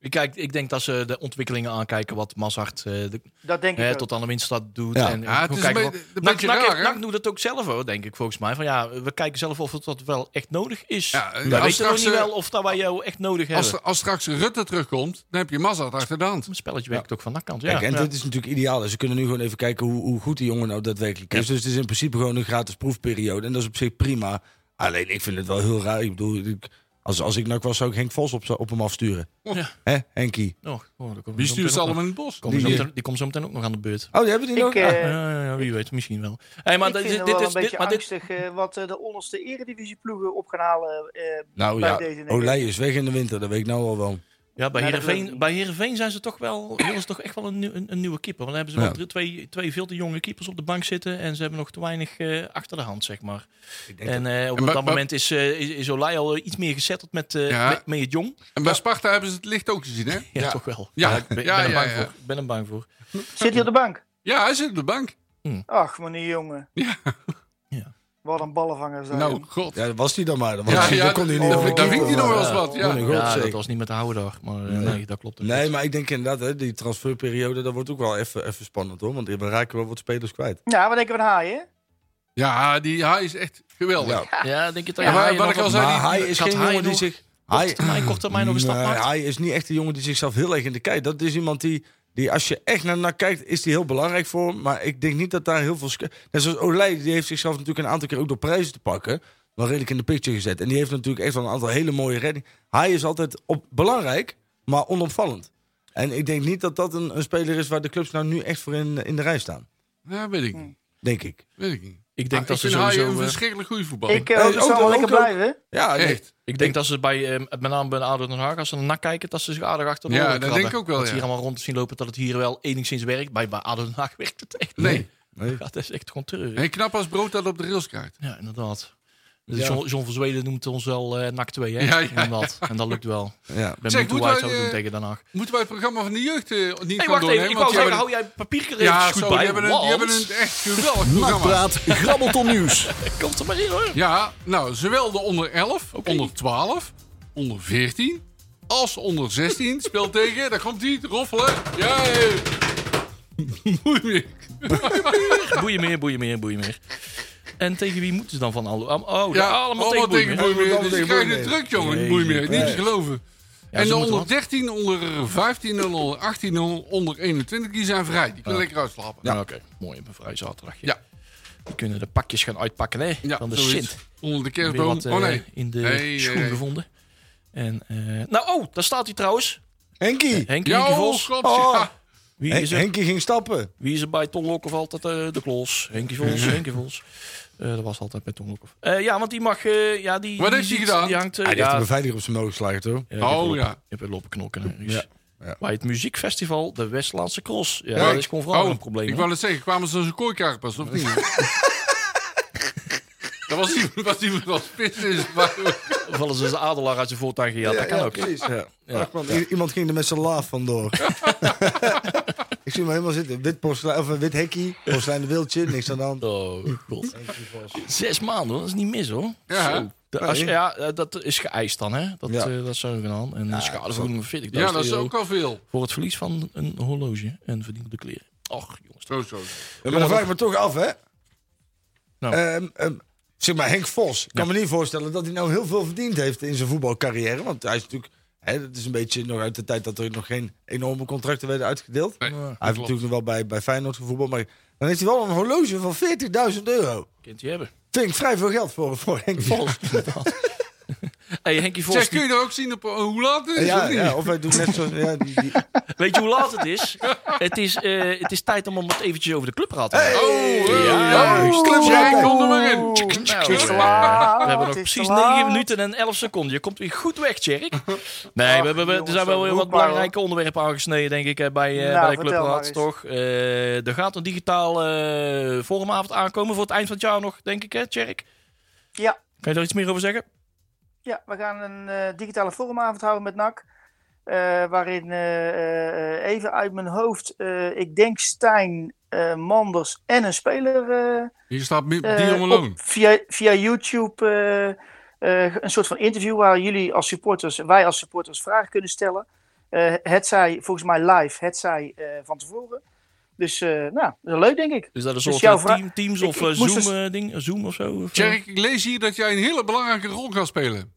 S4: Ik, kijk, ik denk dat ze de ontwikkelingen aankijken wat Mazart eh, de-
S7: Dat denk ik
S4: hè,
S7: ook.
S4: tot aan de winststad doet.
S5: Ja.
S4: En,
S6: Ja, het
S4: hoe
S6: is
S4: kijken
S6: een
S4: we-
S6: beetje- een
S4: NAC-
S6: beetje
S4: NAC heeft-
S6: raar, hè?
S4: NAC doet dat ook zelf hoor, denk ik volgens mij. Van ja, we kijken zelf of het dat wel echt nodig is.
S6: Ja,
S4: wij
S6: als
S4: weten nog
S6: straks,
S4: niet
S6: eh,
S4: wel of dat wij jou echt nodig hebben.
S6: Als, er- als straks Rutte terugkomt, dan heb je Mazda achter de hand.
S4: Een spelletje werkt ook van dat kant. Ja,
S5: Kijk, en
S4: ja.
S5: dat is natuurlijk ideaal. Dus we kunnen nu gewoon even kijken hoe, hoe goed die jongen nou daadwerkelijk is. Dus het is in principe gewoon een gratis proefperiode. En dat is op zich prima. Alleen, ik vind het wel heel raar. Ik bedoel, ik- als, als ik nou was, zou ik Henk Vos op, op hem afsturen.
S4: Ja.
S5: Hè, Henkie?
S4: Oh, oh, daar komen
S6: Wie
S4: we zo
S6: stuurt ze
S4: meteen nog
S6: allemaal in het bos?
S4: aan. Komen we zo
S5: Die-
S4: meteen- Die komt zo meteen ook nog aan de beurt.
S5: Oh, die hebben die
S7: Ik,
S5: nog?
S7: eh,
S5: Ah,
S4: Ja, ja, ja, wie weet, misschien wel. Hey, maar
S7: ik
S4: dit,
S7: vind
S4: dit,
S7: het wel
S4: is
S7: een beetje
S4: dit, maar dit,
S7: angstig eh, wat eh, de onderste eredivisie ploegen op gaan halen. eh,
S5: nou
S7: bij
S5: ja,
S7: deze denk ik.
S5: Olij is weg in de winter. Dat weet ik nou al wel.
S4: ja, bij,
S7: Nee, dat geloof ik
S4: Heerenveen,
S7: niet.
S4: bij Heerenveen zijn ze toch wel, willen ze toch echt wel een, nieuw- een, een nieuwe keeper. Want dan hebben ze
S5: Ja.
S4: wel drie- twee, twee veel te jonge keepers op de bank zitten en ze hebben nog te weinig eh, achter de hand, zeg maar. En eh, op
S6: En maar-
S4: dat
S6: maar-
S4: moment is, eh, is, is Olij al eh, iets meer gezetteld met, eh
S6: Ja.
S4: met, met het jong.
S6: En bij Sparta hebben ze het licht ook gezien, hè?
S4: Ja, toch wel.
S6: Ja.
S4: ik ben, ik
S6: Ja,
S4: ben
S6: ja,
S4: er bang
S6: ja.
S4: voor. Ik ben er bang voor.
S7: Zit hij op de bank?
S6: Ja, hij zit op de bank.
S7: Ach, meneer jongen.
S6: Ja.
S7: Wat een ballenvanger zijn.
S6: Nou, god.
S5: Ja, dat was die dan maar. Dan, was
S6: Ja,
S5: die-
S6: ja,
S5: dan kon hij niet
S6: dat-
S5: op de
S6: daar
S5: keeper,
S6: vindt hij nog
S5: maar-
S6: wel eens wat.
S5: Oh,
S6: Ja.
S5: mijn god,
S4: Ja, dat
S5: zeker.
S4: was niet met de houden daar, maar eh, nee. dat klopt. ook
S5: Nee,
S4: niet.
S5: maar ik denk inderdaad, hè, die transferperiode, dat wordt ook wel even, even spannend hoor. Want we raken wel wat spelers kwijt.
S7: Ja, wat denken we van haaien?
S6: Ja, die hij is echt geweldig.
S5: Ja.
S4: Ja, denk je dat
S6: Ja,
S4: je
S6: maar
S4: Haaien
S6: wat
S4: nog
S6: ik al
S4: een-
S6: zei,
S5: Maar
S6: die-
S5: hij is
S4: gaat
S5: geen
S4: hij
S5: jongen die
S4: nog-
S5: zich...
S4: Hij,
S5: hij-
S4: termijn, kort termijn nog een stap
S5: Nee,
S4: maakt.
S5: hij is niet echt de jongen die zichzelf heel erg in de kijkt. Dat is iemand die, die als je echt naar, naar kijkt, is die heel belangrijk voor hem. Maar ik denk niet dat daar heel veel... ske- Net zoals Olij, die heeft zichzelf natuurlijk een aantal keer ook door prijzen te pakken. Wel redelijk in de picture gezet. En die heeft natuurlijk echt wel een aantal hele mooie reddingen. Hij is altijd op, belangrijk, maar onopvallend. En ik denk niet dat dat een, een speler is waar de clubs nou nu echt voor in, in de rij staan.
S6: Ja, weet
S5: Hm.
S6: ik niet.
S5: Denk ik.
S6: Weet ik niet.
S4: Ik denk
S6: Ah,
S4: dat ze
S6: vind hij
S4: sowieso...
S6: een
S4: eh,
S6: verschrikkelijk goede voetballer.
S7: Ik eh,
S5: Eh,
S7: hoop dat ze
S5: ook-
S7: allemaal lekker
S5: ook-
S7: blijven.
S5: Ja, nee.
S6: Echt.
S4: Ik denk dat ze bij, eh, met name bij ADO Den Haag, als ze naar kijken, dat ze zich aardig achter de
S6: Ja,
S4: oren
S6: dat
S4: krabben.
S6: denk ik ook wel,
S4: Dat ze
S6: ja.
S4: hier allemaal rond zien lopen, dat het hier wel enigszins werkt. Bij, bij ADO Den Haag werkt het echt
S6: Nee.
S4: niet. Ja, dat is echt gewoon treurig.
S6: En knap als brood dat op de rails krijgt.
S4: Ja, inderdaad. Dus John, John van Zweden noemt ons wel eh NAC 2, hè?
S6: Ja, ja,
S4: En, dat, en dat lukt wel.
S5: Ja.
S4: Ik ben
S6: Zeg,
S4: benieuwd hoe wij
S6: moeten
S4: het
S6: wij,
S4: zouden doen
S6: eh,
S4: tegen Den Haag.
S6: Moeten wij het programma van de jeugd eh, niet
S4: Hey,
S6: gaan
S4: wacht even.
S6: doornemen?
S4: Ik
S6: Want
S4: wou
S6: die
S4: zeggen,
S6: hebben-
S4: hou jij papier
S6: ja,
S4: goed
S6: zo,
S4: bij,
S6: die hebben een, die hebben een echt geweldig programma.
S3: Nakpraat, grabbelton nieuws.
S4: Komt er maar in, hoor.
S6: Ja, nou, zowel de onder 11, onder 12, onder 14 als de onder 16 speelt tegen. Daar komt die, roffelen. Ja, Moeilijk.
S4: Boeien meer, boeien meer, boeien meer. En tegen wie moeten ze dan van alle... Oh,
S6: Ja,
S4: allemaal tegen boeien. meer.
S6: Boeimeer.
S5: Allemaal
S6: Dus
S5: tegen
S6: je krijgt een
S5: Boeimeer.
S6: druk, jongen.
S4: Jezus.
S6: Boeimeer, niet te geloven.
S4: Ja,
S6: en
S4: ze
S6: de
S4: moeten
S6: onder
S4: wat.
S6: 13, onder 15, en onder 18, onder 21, die zijn vrij. Die kunnen lekker uitslapen.
S4: Ja, oké. Mooi, een vrij zaterdagje.
S6: Ja.
S4: Die kunnen de pakjes gaan uitpakken, hè?
S6: Ja,
S4: van de
S6: zoiets.
S4: Sint.
S6: Onder de
S4: Weer
S6: kerstboom.
S4: wat eh,
S6: oh nee. eh,
S4: in de
S6: Nee,
S4: schoen
S6: nee, nee.
S4: gevonden. En, eh, nou, oh, daar staat hij trouwens.
S5: Henkie.
S4: Henkie,
S6: Ja,
S4: Henkie
S6: oh,
S4: Vos. Ah,
S6: God,
S5: Oh.
S6: ja.
S4: Wie
S5: Hen-
S4: is er?
S5: Henkie ging stappen.
S4: Wie is er bij Ton Lokhoff altijd eh, de klos? Henkie Vos, Henkie Vos. Eh, dat was altijd bij Ton Lokhoff. Eh, ja, want die mag... eh, ja, die,
S6: Wat
S4: die
S6: heeft hij
S4: zit-
S6: gedaan?
S4: Die hangt... eh,
S5: Hij heeft
S4: ja,
S5: een beveiliger op zijn mogen geslagen, toch?
S4: ja, die heeft
S6: Oh, ja.
S4: lopen- die heeft lopen knokken. hè, Ries.
S5: Ja, ja.
S4: Bij het muziekfestival de Westlandse Cross. Ja,
S6: Ja,
S4: dat is gewoon vooral
S6: oh,
S4: een probleem.
S6: Ik
S4: hè?
S6: wou het zeggen, kwamen ze als een kooikarper pas, of niet? dat was iemand was iemand als pis is. Maar,
S4: Vallen ze zijn adelaar uit zijn voortuig gejat. dat kan ook. hè?
S5: Ja. Ach, man, i- Iemand ging er met zijn laaf vandoor. ik zie hem helemaal zitten. Wit, porselein, of een wit hekkie, porseleinen wildje, niks aan de hand.
S4: Oh, god. Zes maanden, hoor. dat is niet mis hoor.
S6: Ja.
S4: Zo. De- als, je- ja, eh, dat is geëist dan, hè? Dat,
S5: Ja.
S4: eh, dat zou gedaan. En de schadevergoeding van 40.000
S6: ja, dat is
S4: euro
S6: ook al veel.
S4: voor het verlies van een horloge en verdiende kleren. Och, jongens.
S6: Zo, zo.
S5: Ja, maar dan vraag ik me toch af, hè?
S4: Nou.
S5: Ehm, ehm, zeg maar, Henk Vos. Ik kan me niet voorstellen dat hij nou heel veel verdiend heeft in zijn voetbalcarrière. Want hij is natuurlijk... Hè, dat is een beetje nog uit de tijd dat er nog geen enorme contracten werden uitgedeeld.
S6: Nee,
S5: hij
S6: dat
S5: heeft
S6: klopt.
S5: natuurlijk nog wel bij, bij Feyenoord gevoetbald. Maar dan heeft hij wel een horloge van 40.000 euro.
S4: Kind die hebben.
S5: Vind ik vrij veel geld voor, voor Henk Vos.
S4: hey, Henkie Vos,
S6: Zeg,
S4: die-
S6: kun je dat ook zien op eh, hoe laat het is?
S5: Ja,
S6: of niet?
S5: ja, of hij doet net zo... Ja, die, die-
S4: weet je hoe laat het is? het, is eh, het is tijd om het eventjes over de clubraad te hebben.
S6: Oh, eh,
S4: Ja,
S6: ja,
S4: juist.
S6: klap, jij
S5: Ja.
S6: komt er maar in.
S4: Nou,
S7: Het is
S4: eh,
S7: te laat,
S4: we hebben nog
S7: het is te
S4: precies
S7: laat.
S4: 9 minuten en 11 seconden. Je komt weer goed weg, Tjerk. Nee, we, hebben we, er
S7: jongens,
S4: zijn
S7: zo
S4: wel weer wat
S7: roepbaar,
S4: belangrijke onderwerpen aangesneden, denk ik, eh, bij, eh,
S7: Nou,
S4: bij de
S7: vertel maar
S4: Clubraad,
S7: eens.
S4: toch? Eh, er gaat een digitaal eh, forumavond aankomen voor het eind van het jaar nog, denk ik, hè, Tjerk?
S7: Ja,
S4: Kan je daar iets meer over zeggen?
S7: ja, we gaan een eh, digitale forumavond houden met NAC. eh, waarin eh, eh, eh, even uit mijn hoofd, eh, ik denk Stijn, eh, Manders en een speler eh,
S6: Hier staat Mi-
S7: eh,
S6: Dion Malone.
S7: op- via, via YouTube eh, eh, een soort van interview waar jullie als supporters, wij als supporters vragen kunnen stellen. Eh, het zij volgens mij live, het zij eh, van tevoren. Dus eh, nou, dat is leuk denk ik.
S4: Is dat een
S7: Dus
S4: soort
S7: jouw
S4: eh,
S7: vraag-
S4: team, Teams
S7: Ik-
S4: of
S7: ik
S4: eh,
S7: moest dus-
S4: Zoom, eh, ding, Zoom of zo? Of, eh,
S6: Tjerk, ik lees hier dat jij een hele belangrijke rol gaat spelen.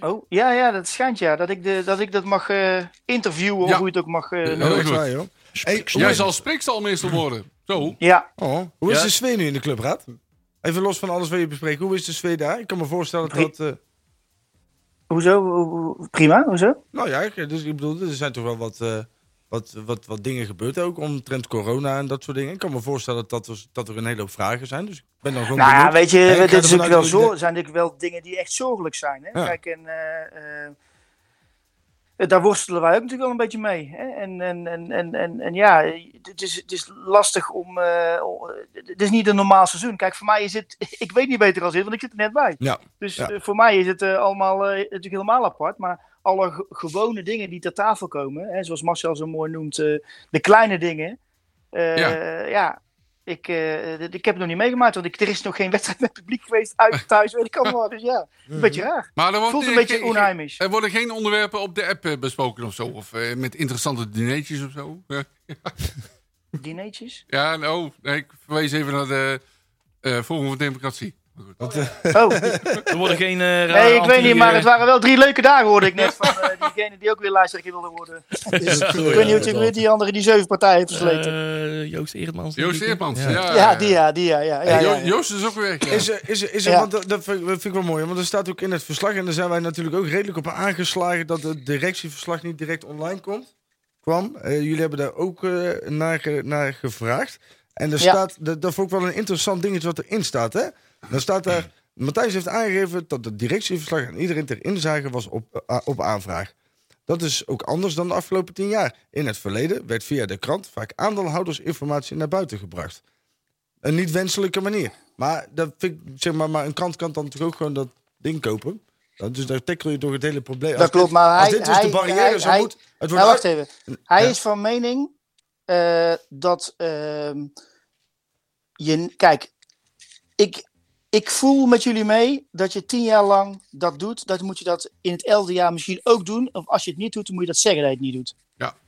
S7: Oh, ja, ja, dat schijnt ja. Dat ik, de, dat, ik dat mag eh, interviewen,
S6: Ja.
S7: of hoe je het ook mag eh,
S6: Eh,
S7: noemen.
S5: dat
S6: Heel
S5: is
S6: goed.
S5: waar, joh. Hey, hoe,
S6: Jij
S5: is,
S6: zal spreekstalmeester worden. Zo.
S7: Ja,
S5: oh, hoe is
S4: Ja.
S5: de sfeer nu in de clubraad? Even los van alles wat je bespreekt. Hoe is de sfeer daar? Ik kan me voorstellen dat... eh,
S7: hoezo? Hoe- hoe- Prima, hoezo?
S5: nou ja, ik, dus, ik bedoel, er zijn toch wel wat, eh, wat, wat, wat dingen gebeurd ook omtrent corona en dat soort dingen. Ik kan me voorstellen dat er, dat er een hele hoop vragen zijn. Dus ik ben dan gewoon
S7: Nou ja,
S5: benieuwd.
S7: weet
S5: En ik
S7: je,
S5: ga
S7: dit is
S5: ervan
S7: ook
S5: uit
S7: wel
S5: dat
S7: zo,
S5: je-
S7: zijn natuurlijk wel dingen die echt zorgelijk zijn. Hè?
S5: Ja.
S7: Kijk, en eh, eh, daar worstelen wij ook natuurlijk wel een beetje mee. Hè? En, en, en, en, en, en ja, het is, het is lastig om. eh, o- het is niet een normaal seizoen. Kijk, voor mij is het. Ik weet niet beter als dit, want ik zit er net bij.
S5: Ja,
S7: Dus
S5: Ja.
S7: eh, voor mij is het eh, allemaal eh, natuurlijk helemaal apart. Maar alle ge- gewone dingen die ter tafel komen, hè, zoals Marcel zo mooi noemt, eh, de kleine dingen. eh, ja. ik, eh, d- ik heb het nog niet meegemaakt, want ik, er is nog geen wedstrijd met publiek geweest. Uit, thuis, weet ik allemaal. Dus ja, een beetje raar.
S6: Maar er wordt
S7: Voelt een
S6: eh,
S7: beetje
S6: geen-
S7: onheimisch.
S6: Er worden geen onderwerpen op de app eh, besproken of zo. Of eh, met interessante dinertjes of zo. Ja.
S7: Eh. Dinertjes?
S6: Ja, nou, nee, ik verwees even naar de eh Forum voor Democratie. Maar goed.
S7: Oh,
S4: Er worden geen eh, rare
S7: nee, ik weet
S4: anti-
S7: niet, maar het
S4: eh,
S7: waren wel drie leuke dagen, hoorde ik net. Van eh, diegene die ook weer luisteraar wilde worden. ik weet niet hoe het weer die andere die zeven partijen heeft versleten.
S4: eh, Joost Eertmans. denk
S6: Joost
S4: ik.
S6: Eermans.
S4: Ja.
S6: Ja, ja,
S7: Eh, ja, die ja, die ja. ja, ja,
S6: En Jo-
S7: ja, ja.
S6: Joost is ook weer weg. ja.
S5: Is er, is er, is er
S7: Ja.
S5: want dat, dat vind ik- dat vind ik wel mooi, want dat staat ook in het verslag. En daar zijn wij natuurlijk ook redelijk op aangeslagen dat het directieverslag niet direct online komt, kwam. Eh, jullie hebben daar ook eh, naar, ge- naar gevraagd. En er
S7: Ja.
S5: staat, dat, dat vond ik wel een interessant dingetje wat erin staat. Hè? Dan staat daar, Matthijs heeft aangegeven dat het directieverslag aan iedereen ter inzage was op, a- op aanvraag. Dat is ook anders dan de afgelopen tien jaar. In het verleden werd via de krant vaak aandeelhoudersinformatie naar buiten gebracht. een niet wenselijke manier. Maar, dat vind ik, zeg maar, maar een krant kan dan natuurlijk ook gewoon dat ding kopen. Dan- Dus daar tackle je door het hele probleem.
S7: Dat klopt, maar
S5: als
S7: hij...
S5: dit dus
S7: hij,
S5: de barrière
S7: hij,
S5: zou
S7: hij-
S5: moeten- het
S7: Nou,
S5: wordt
S7: wacht even. Hij
S5: Ja.
S7: is van mening eh, dat ehm, je. Kijk, ik, ik voel met jullie mee dat je tien jaar lang dat doet. Dat moet je dat in het elfde jaar misschien ook doen. Of als je het niet doet, dan moet je dat zeggen dat je het niet doet.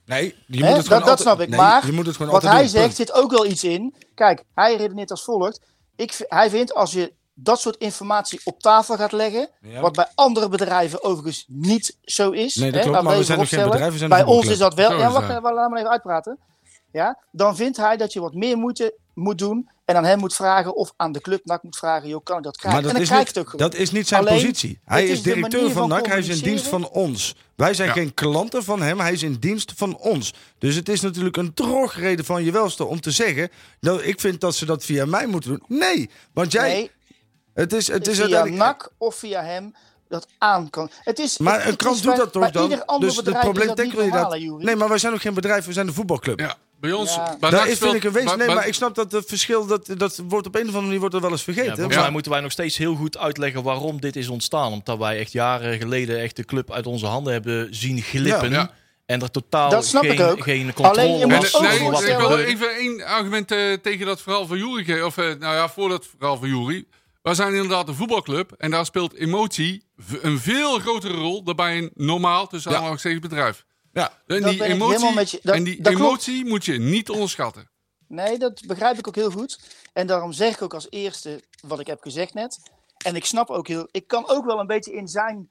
S5: Nee, je
S7: Hè?
S5: moet het
S7: dat,
S5: gewoon
S7: dat
S5: altijd-
S7: snap ik.
S5: nee,
S7: maar
S5: je moet het gewoon
S7: wat
S5: altijd
S7: hij
S5: doen, punt.
S7: zegt zit ook wel iets in. Kijk, hij redeneert als volgt. Ik, v- hij vindt als je dat soort informatie op tafel gaat leggen,
S5: Ja.
S7: wat bij andere bedrijven overigens niet zo is.
S5: Nee, dat klopt,
S7: hè, laten
S5: maar we
S7: even
S5: zijn nog geen
S7: opstellen.
S5: bedrijf, we zijn dus
S7: Bij
S5: een
S7: ons is dat wel.
S6: Zo
S7: Ja,
S6: is
S7: wacht,
S6: dat.
S7: eh, laat me even uitpraten. Ja, dan vindt hij dat je wat meer moeite moet doen en aan hem moet vragen of aan de club NAC moet vragen, joh, kan ik dat krijgen?
S5: Maar dat,
S7: en
S5: is
S7: dan
S5: niet,
S7: krijgt het ook gewoon.
S5: dat is niet zijn
S7: Alleen,
S5: positie. Hij
S7: het
S5: is,
S7: is de
S5: directeur
S7: manier
S5: van
S7: van
S5: NAC, hij is in dienst
S7: communiceren.
S5: van ons. Wij zijn
S6: Ja.
S5: geen klanten van hem, hij is in dienst van ons. Dus het is natuurlijk een drogreden van je welste om te zeggen... Nou, ik vind dat ze dat via mij moeten doen. Nee, want jij...
S7: nee,
S5: het is, het is
S7: via
S5: Dus uiteindelijk-
S7: NAC of via hem dat aan kan. Het is, het-
S5: Maar
S7: het
S5: een
S7: is
S5: krant
S7: bij-
S5: doet dat
S7: bij
S5: toch dan?
S7: Ieder ander
S5: Dus het
S7: bedrijf
S5: probleem
S7: is dat niet
S5: tackle je
S7: normaal,
S5: dat.
S7: hè, Joeri?
S5: Nee, maar wij zijn nog geen bedrijf, we zijn een voetbalclub.
S6: Ja, bij ons...
S7: Ja.
S6: bij
S5: Daar
S6: NAC
S5: Nou, is, vind
S6: speelt-
S5: ik een wezen.
S6: bij-
S5: Nee,
S6: bij-
S5: maar ik snap dat het verschil... Dat, dat wordt op een of andere manier wordt er wel eens
S4: Ja,
S5: vergeten.
S4: volgens
S6: Ja.
S4: mij moeten wij nog steeds heel goed uitleggen waarom dit is ontstaan. Omdat wij echt jaren geleden echt de club uit onze handen hebben zien glippen.
S6: Ja, ja.
S4: En er totaal
S7: Dat snap
S4: geen,
S7: ik ook.
S4: geen controle
S7: Alleen je
S6: En,
S4: was
S7: moet
S6: eh,
S7: ook
S4: over
S6: nee,
S5: Oh,
S7: gewoon
S4: wat er
S6: ik wil
S4: gebeurde.
S6: even één argument eh, tegen dat verhaal van Jury geven. Of eh, nou ja, voor dat verhaal van Jury. Wij zijn inderdaad een voetbalclub. En daar speelt emotie v- een veel grotere rol dan bij een normaal, tussen
S5: Ja.
S6: aanhalingstekens, bedrijf.
S5: Ja.
S6: En
S7: Dat
S6: die
S7: ben ik
S6: emotie,
S7: helemaal met je- dat-
S6: en die
S7: dat klopt.
S6: emotie moet je niet onderschatten.
S7: Nee, dat begrijp ik ook heel goed. En daarom zeg ik ook als eerste wat ik heb gezegd net. En ik snap ook heel. Ik kan ook wel een beetje in zijn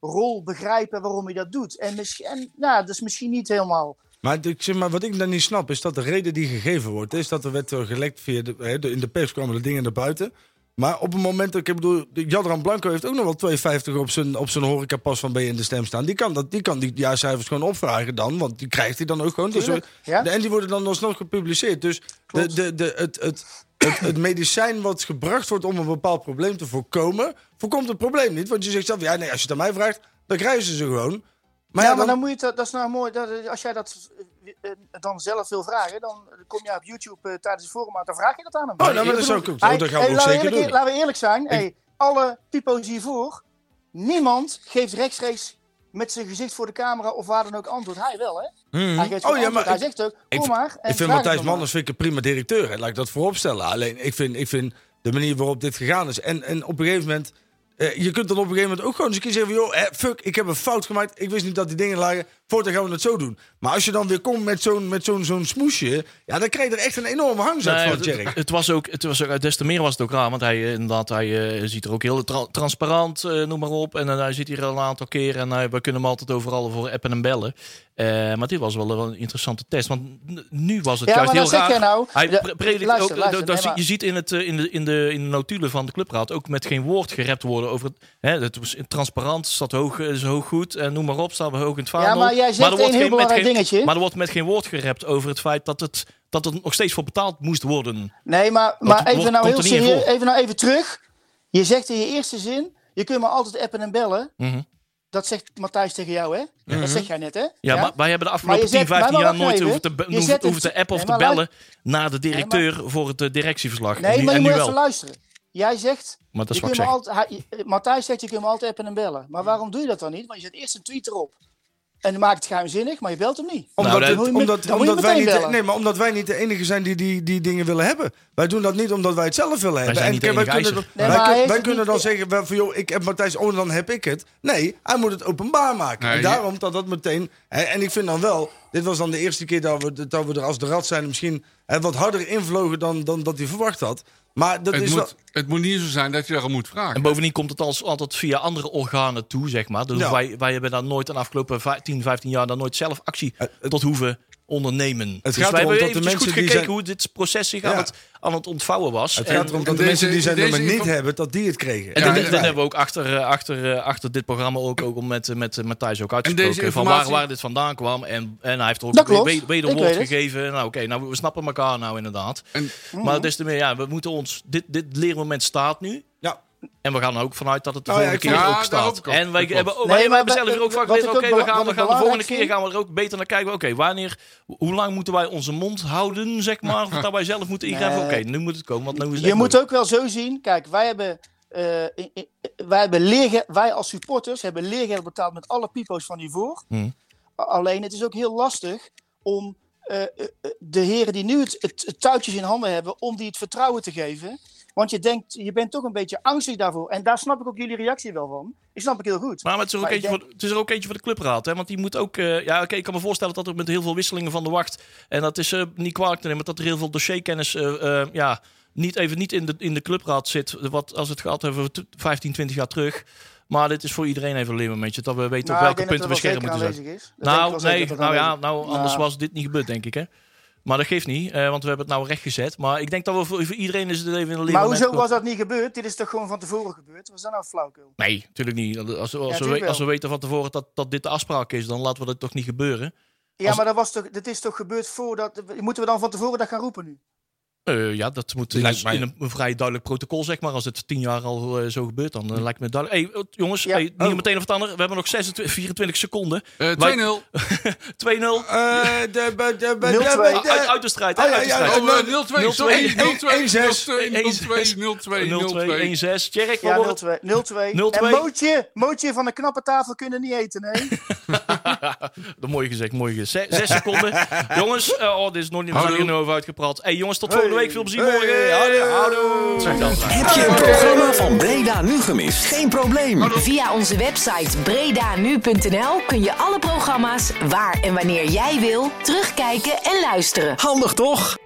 S7: rol begrijpen waarom hij dat doet. En misschien, nou, dat is misschien niet helemaal.
S5: Maar, ik zeg maar wat ik dan niet snap is dat de reden die gegeven wordt, is dat er werd eh, gelekt via de, hè, de- in de pers kwamen de dingen naar buiten. Maar op het moment dat ik bedoel, Jadran Blanco heeft ook nog wel 2,50 op zijn, op zijn horecapas van B in de stem staan. Die kan, dat, die, kan die jaarcijfers gewoon opvragen dan, want die krijgt hij dan ook gewoon. Dus
S7: Tuurlijk,
S5: we-
S7: ja.
S5: En die worden dan alsnog gepubliceerd. Dus de, de, de, het, het, het, het medicijn wat gebracht wordt om een bepaald probleem te voorkomen, voorkomt het probleem niet. Want je zegt zelf, ja, nee, als je het aan mij vraagt, dan krijgen ze ze gewoon. Maar
S7: ja,
S5: ja,
S7: maar
S5: dan-
S7: dan moet je dat. Dat is nou mooi. Dat, als jij dat eh, eh, dan zelf wil vragen, dan kom je op YouTube eh, tijdens de forum aan. Dan vraag je dat aan hem.
S5: Oh, nou, maar
S7: Ik
S5: dat
S7: bedoel,
S5: zou ik ook doen.
S7: hij-
S5: Dat gaan we
S7: hey,
S5: ook
S7: laten
S5: zeker
S7: eerlijk-
S5: doen.
S7: Laten we eerlijk zijn. hey, alle typo's hiervoor. Niemand geeft rechtstreeks met zijn gezicht voor de camera of waar dan ook antwoord. Hij wel, hè? Hij geeft
S5: Oh, ja,
S7: ja,
S5: maar
S7: maar hij
S5: ik-
S7: zegt ook,
S5: ik
S7: kom
S5: vind-
S7: maar. en
S5: ik vind
S7: vraag
S5: Matthijs
S7: het maar.
S5: Manders vind ik een prima directeur. Hè. Laat ik dat vooropstellen. Alleen ik vind, ik vind de manier waarop dit gegaan is. En, en op een gegeven moment. eh, je kunt dan op een gegeven moment ook gewoon eens een keer zeggen: van, joh, eh, fuck, ik heb een fout gemaakt. Ik wist niet dat die dingen lagen. Voortaan gaan we het zo doen. Maar als je dan weer komt met zo'n met zo'n zo'n smoesje. Ja, dan krijg je er echt een enorme hangzak
S4: Nee,
S5: van,
S4: het,
S5: Jerry.
S4: het was ook, het was ook, eh, des te meer was het ook raar, want hij, eh, inderdaad, hij eh, ziet er ook heel tra- transparant, eh, noem maar op. En eh, hij zit hier al een aantal keren en eh, we kunnen hem altijd overal voor appen en bellen. Eh, maar dit was wel een, wel een interessante test, want n- nu was het
S7: Ja,
S4: juist
S7: maar
S4: heel
S7: dan zeg
S4: raar.
S7: jij nou...
S4: Hij
S7: de-
S4: pre- predikt
S7: luister,
S4: ook,
S7: luister,
S4: dat- dat
S7: nee,
S4: zie-
S7: maar-
S4: je ziet in, het, eh, in, de, in, de, in de notulen van de clubraad ook met geen woord gerept worden over het. Hè, het was transparant, staat hoog, is hoog goed en noem maar op, staan we hoog in het vaandel.
S7: Ja, maar jij zegt
S4: er
S7: een
S4: wordt
S7: heel
S4: geen- met
S7: belangrijk
S4: geen-
S7: dingetje.
S4: Maar er wordt met geen woord gerept over het feit dat het, dat het nog steeds voor betaald moest worden.
S7: Nee, maar,
S4: Dat
S7: maar
S4: woord
S7: even nou
S4: komt
S7: heel
S4: er niet in
S7: serieus,
S4: voor.
S7: even, nou even terug. Je zegt in je eerste zin, je kunt me altijd appen en bellen.
S4: Mhm.
S7: Dat zegt Matthijs tegen jou, hè?
S5: Mhm.
S7: Dat zeg jij net, hè?
S4: Ja, Maar wij hebben de afgelopen
S7: je zet-
S4: 10, 15
S7: maar
S4: jaar
S7: wacht
S4: nooit
S7: even.
S4: hoeven te, be-
S7: Je
S4: hoeven,
S7: zet
S4: hoeven
S7: het-
S4: te appen of
S7: Nee,
S4: te
S7: maar
S4: bellen naar de directeur voor het eh, directieverslag. en
S7: Nee,
S4: nu,
S7: maar je
S4: en
S7: moet
S4: nu
S7: even
S4: wel.
S7: luisteren. Jij zegt,
S4: Maar dat is
S7: je
S4: wat ik
S7: kunt me
S4: zeg.
S7: altijd, hij- eh, Matthijs zegt, je kunt me altijd appen en bellen. Maar waarom doe je dat dan niet? Want je zet eerst een tweet erop. En dan maakt het geheimzinnig, maar je belt hem niet.
S5: Omdat,
S4: Nou, dat-
S5: het-
S7: Dan moet je me-
S5: omdat,
S7: dan moet je
S5: omdat, wij
S7: meteen
S5: niet,
S7: bellen.
S5: nee, maar omdat wij niet de enige zijn die, die die dingen willen hebben. Wij doen dat niet omdat wij het zelf willen hebben.
S4: zijn
S5: En
S4: niet
S5: kijk,
S4: de
S5: wij
S4: enige
S5: kunnen,
S4: eiser.
S7: Nee,
S5: wij
S7: maar
S5: kun-
S7: hij heeft
S5: wij
S7: het
S5: kunnen
S7: niet-
S5: dan zeggen wel van joh, ik heb Matthijs oh, dan heb ik het. Nee, hij moet het openbaar maken.
S6: Nee,
S5: en
S6: je-
S5: daarom dat dat meteen. Hè, en ik vind dan wel, dit was dan de eerste keer dat we, dat we er als de rat zijn misschien hè, wat harder invlogen dan, dan dat hij verwacht had. Maar dat
S6: Het
S5: is wel-
S6: moet, het moet niet zo zijn dat je daarom moet
S4: En
S6: vragen.
S4: bovendien komt het als, altijd via andere organen toe, zeg maar. Dus
S5: Ja.
S4: wij, wij hebben daar nooit de afgelopen 10, 15 jaar daar nooit zelf actie
S5: het-
S4: tot hoeven ondernemen. dus
S5: gaat
S4: wij
S5: erom
S4: hebben
S5: dat de
S4: eventjes
S5: mensen
S4: goed
S5: die
S4: gekeken
S5: zijn-
S4: hoe dit proces zich
S5: Ja.
S4: aan, het, aan het ontvouwen was.
S5: het
S4: En-
S5: gaat erom dat de
S6: deze-
S5: mensen die zijn
S6: deze
S5: nummer niet
S6: info-
S5: hebben, dat die het kregen.
S4: En
S6: Ja,
S4: dit,
S6: ja.
S4: dit hebben we ook achter, eh, achter, eh, achter dit programma ook, ook om met, eh, met eh, Matthijs ook uitgesproken.
S6: deze
S4: Van
S6: informatie-
S4: waar, waar dit vandaan kwam. En, en hij heeft er ook
S7: Dat klopt.
S4: weer- weer- weer een
S7: Ik
S4: woord
S7: weet het.
S4: gegeven. Nou oké, nou, we snappen elkaar nou inderdaad.
S6: En-
S7: Mm-hmm.
S4: Maar des te meer, ja, we moeten ons... Dit, dit leermoment staat nu.
S5: Ja.
S4: En we gaan er ook vanuit dat het de
S5: Nou ja,
S4: volgende
S5: ik
S4: keer
S6: vond-
S4: ook
S6: Ja, daar hoop
S4: staat.
S6: ik ook.
S4: En wij
S6: Dat
S4: hebben,
S6: klopt.
S4: oh, wij
S7: Nee,
S4: hebben
S7: maar
S4: zelf
S7: we-
S4: hier ook vaak
S7: wat ik
S4: gezegd,
S7: ook
S4: oké, we
S7: bela-
S4: gaan, we gaan
S7: wat
S4: de volgende
S7: belangrijk
S4: keer
S7: vind-
S4: gaan we er ook beter naar kijken. Oké, wanneer, hoe lang moeten wij onze mond houden, zeg maar, voordat wij zelf moeten ingrijpen?
S7: Nee.
S4: Oké, nu moet het komen, want nu is het
S7: Je
S4: echt
S7: moet
S4: leuk.
S7: ook wel zo zien. Kijk, wij hebben. eh, eh, eh, wij, hebben leerge- wij als supporters hebben leergeld betaald met alle pipo's van hiervoor.
S4: Hmm.
S7: A- Alleen het is ook heel lastig om eh, eh, eh, de heren die nu het, het, het touwtjes in handen hebben, om die het vertrouwen te geven. Want je denkt, je bent toch een beetje angstig daarvoor. En daar snap ik ook jullie reactie wel van. Die snap ik heel goed.
S4: Maar, maar het, is er ook
S7: Maar ik
S4: eentje
S7: denk-
S4: voor, het is er ook eentje voor de clubraad. Hè? Want die moet ook. eh, ja, oké, ik kan me voorstellen dat er met heel veel wisselingen van de wacht. En dat is eh, niet kwalijk te nemen, dat er heel veel dossierkennis. eh, eh, ja, niet even niet in de, in de clubraad zit. Wat als het gaat hebben we t- 15, 20 jaar terug. Maar dit is voor iedereen even een limmermomentje. Dat we weten
S7: Nou,
S4: op
S7: ik
S4: welke
S7: denk
S4: punten
S7: dat
S4: we
S7: dat
S4: scherp
S7: wel
S4: moeten
S7: zeker
S4: zijn.
S7: aanwezig
S4: Nou,
S7: is. Dat denk ik wel zeker
S4: nee,
S7: dat dat
S4: nou ja,
S7: aanwezig is.
S4: nou, anders
S7: Nou.
S4: was dit niet gebeurd, denk ik. Hè? Maar dat geeft niet, eh, want we hebben het nou recht gezet. Maar ik denk dat we voor, voor iedereen is het even een limmermoment.
S7: Maar hoezo
S4: klopt.
S7: was dat niet gebeurd? Dit is toch gewoon van tevoren gebeurd? Was dat nou flauwkul?
S4: Nee, natuurlijk niet. Als, als, we-
S7: tuurlijk wel.
S4: als we weten van tevoren dat, dat dit de afspraak is, dan laten we dat toch niet gebeuren.
S7: Ja,
S4: Als-
S7: maar dat, was toch, dat is toch gebeurd voordat. Moeten we dan van tevoren dat gaan roepen nu?
S4: Eh, ja, dat moet in,
S5: Lijkt
S4: een-
S5: mij-
S4: in een, een vrij duidelijk protocol, zeg maar. Als het tien jaar al eh, zo gebeurt, dan eh, lijkt me duidelijk. hey, eh, jongens,
S7: Ja.
S4: hey, niet
S5: Oh.
S4: meteen of het ander. We hebben nog 26, 24 seconden. 2-0.
S6: Eh, 2-0.
S4: Wij-
S5: 1-0. Eh, de- be- de- be-
S7: 0-2.
S5: de-
S4: Ah,
S5: be-
S4: uit, uit de strijd, hè,
S5: Ah, ja,
S4: uit de
S5: ja,
S4: strijd.
S5: ja.
S6: Oh, eh, 0-2.
S4: 0-2.
S6: Sorry, 0-2.
S5: 1-6.
S6: 0-2. 0-2. 0-2.
S4: 0-2, 1-6. Tjerk, wat
S7: Ja, 0-2. 0-2.
S4: wordt het?
S7: En
S4: 0-2.
S7: Mootje, Mootje van de knappe tafel kunnen niet eten, hè?
S4: Dat mooi gezegd, mooi gezegd. Zes, zes seconden. jongens, eh, oh, dit is nog niet, we zijn
S6: Houdoe.
S4: hier nu over uitgepraat. Hey, jongens, tot volgende week. Veel plezier morgen.
S5: houdoe.
S4: Houdoe. Zeg dan.
S1: Heb je het programma van Breda Nu gemist? Geen probleem. Via onze website bredanu.nl kun je alle programma's waar en wanneer jij wil terugkijken en luisteren. Handig toch?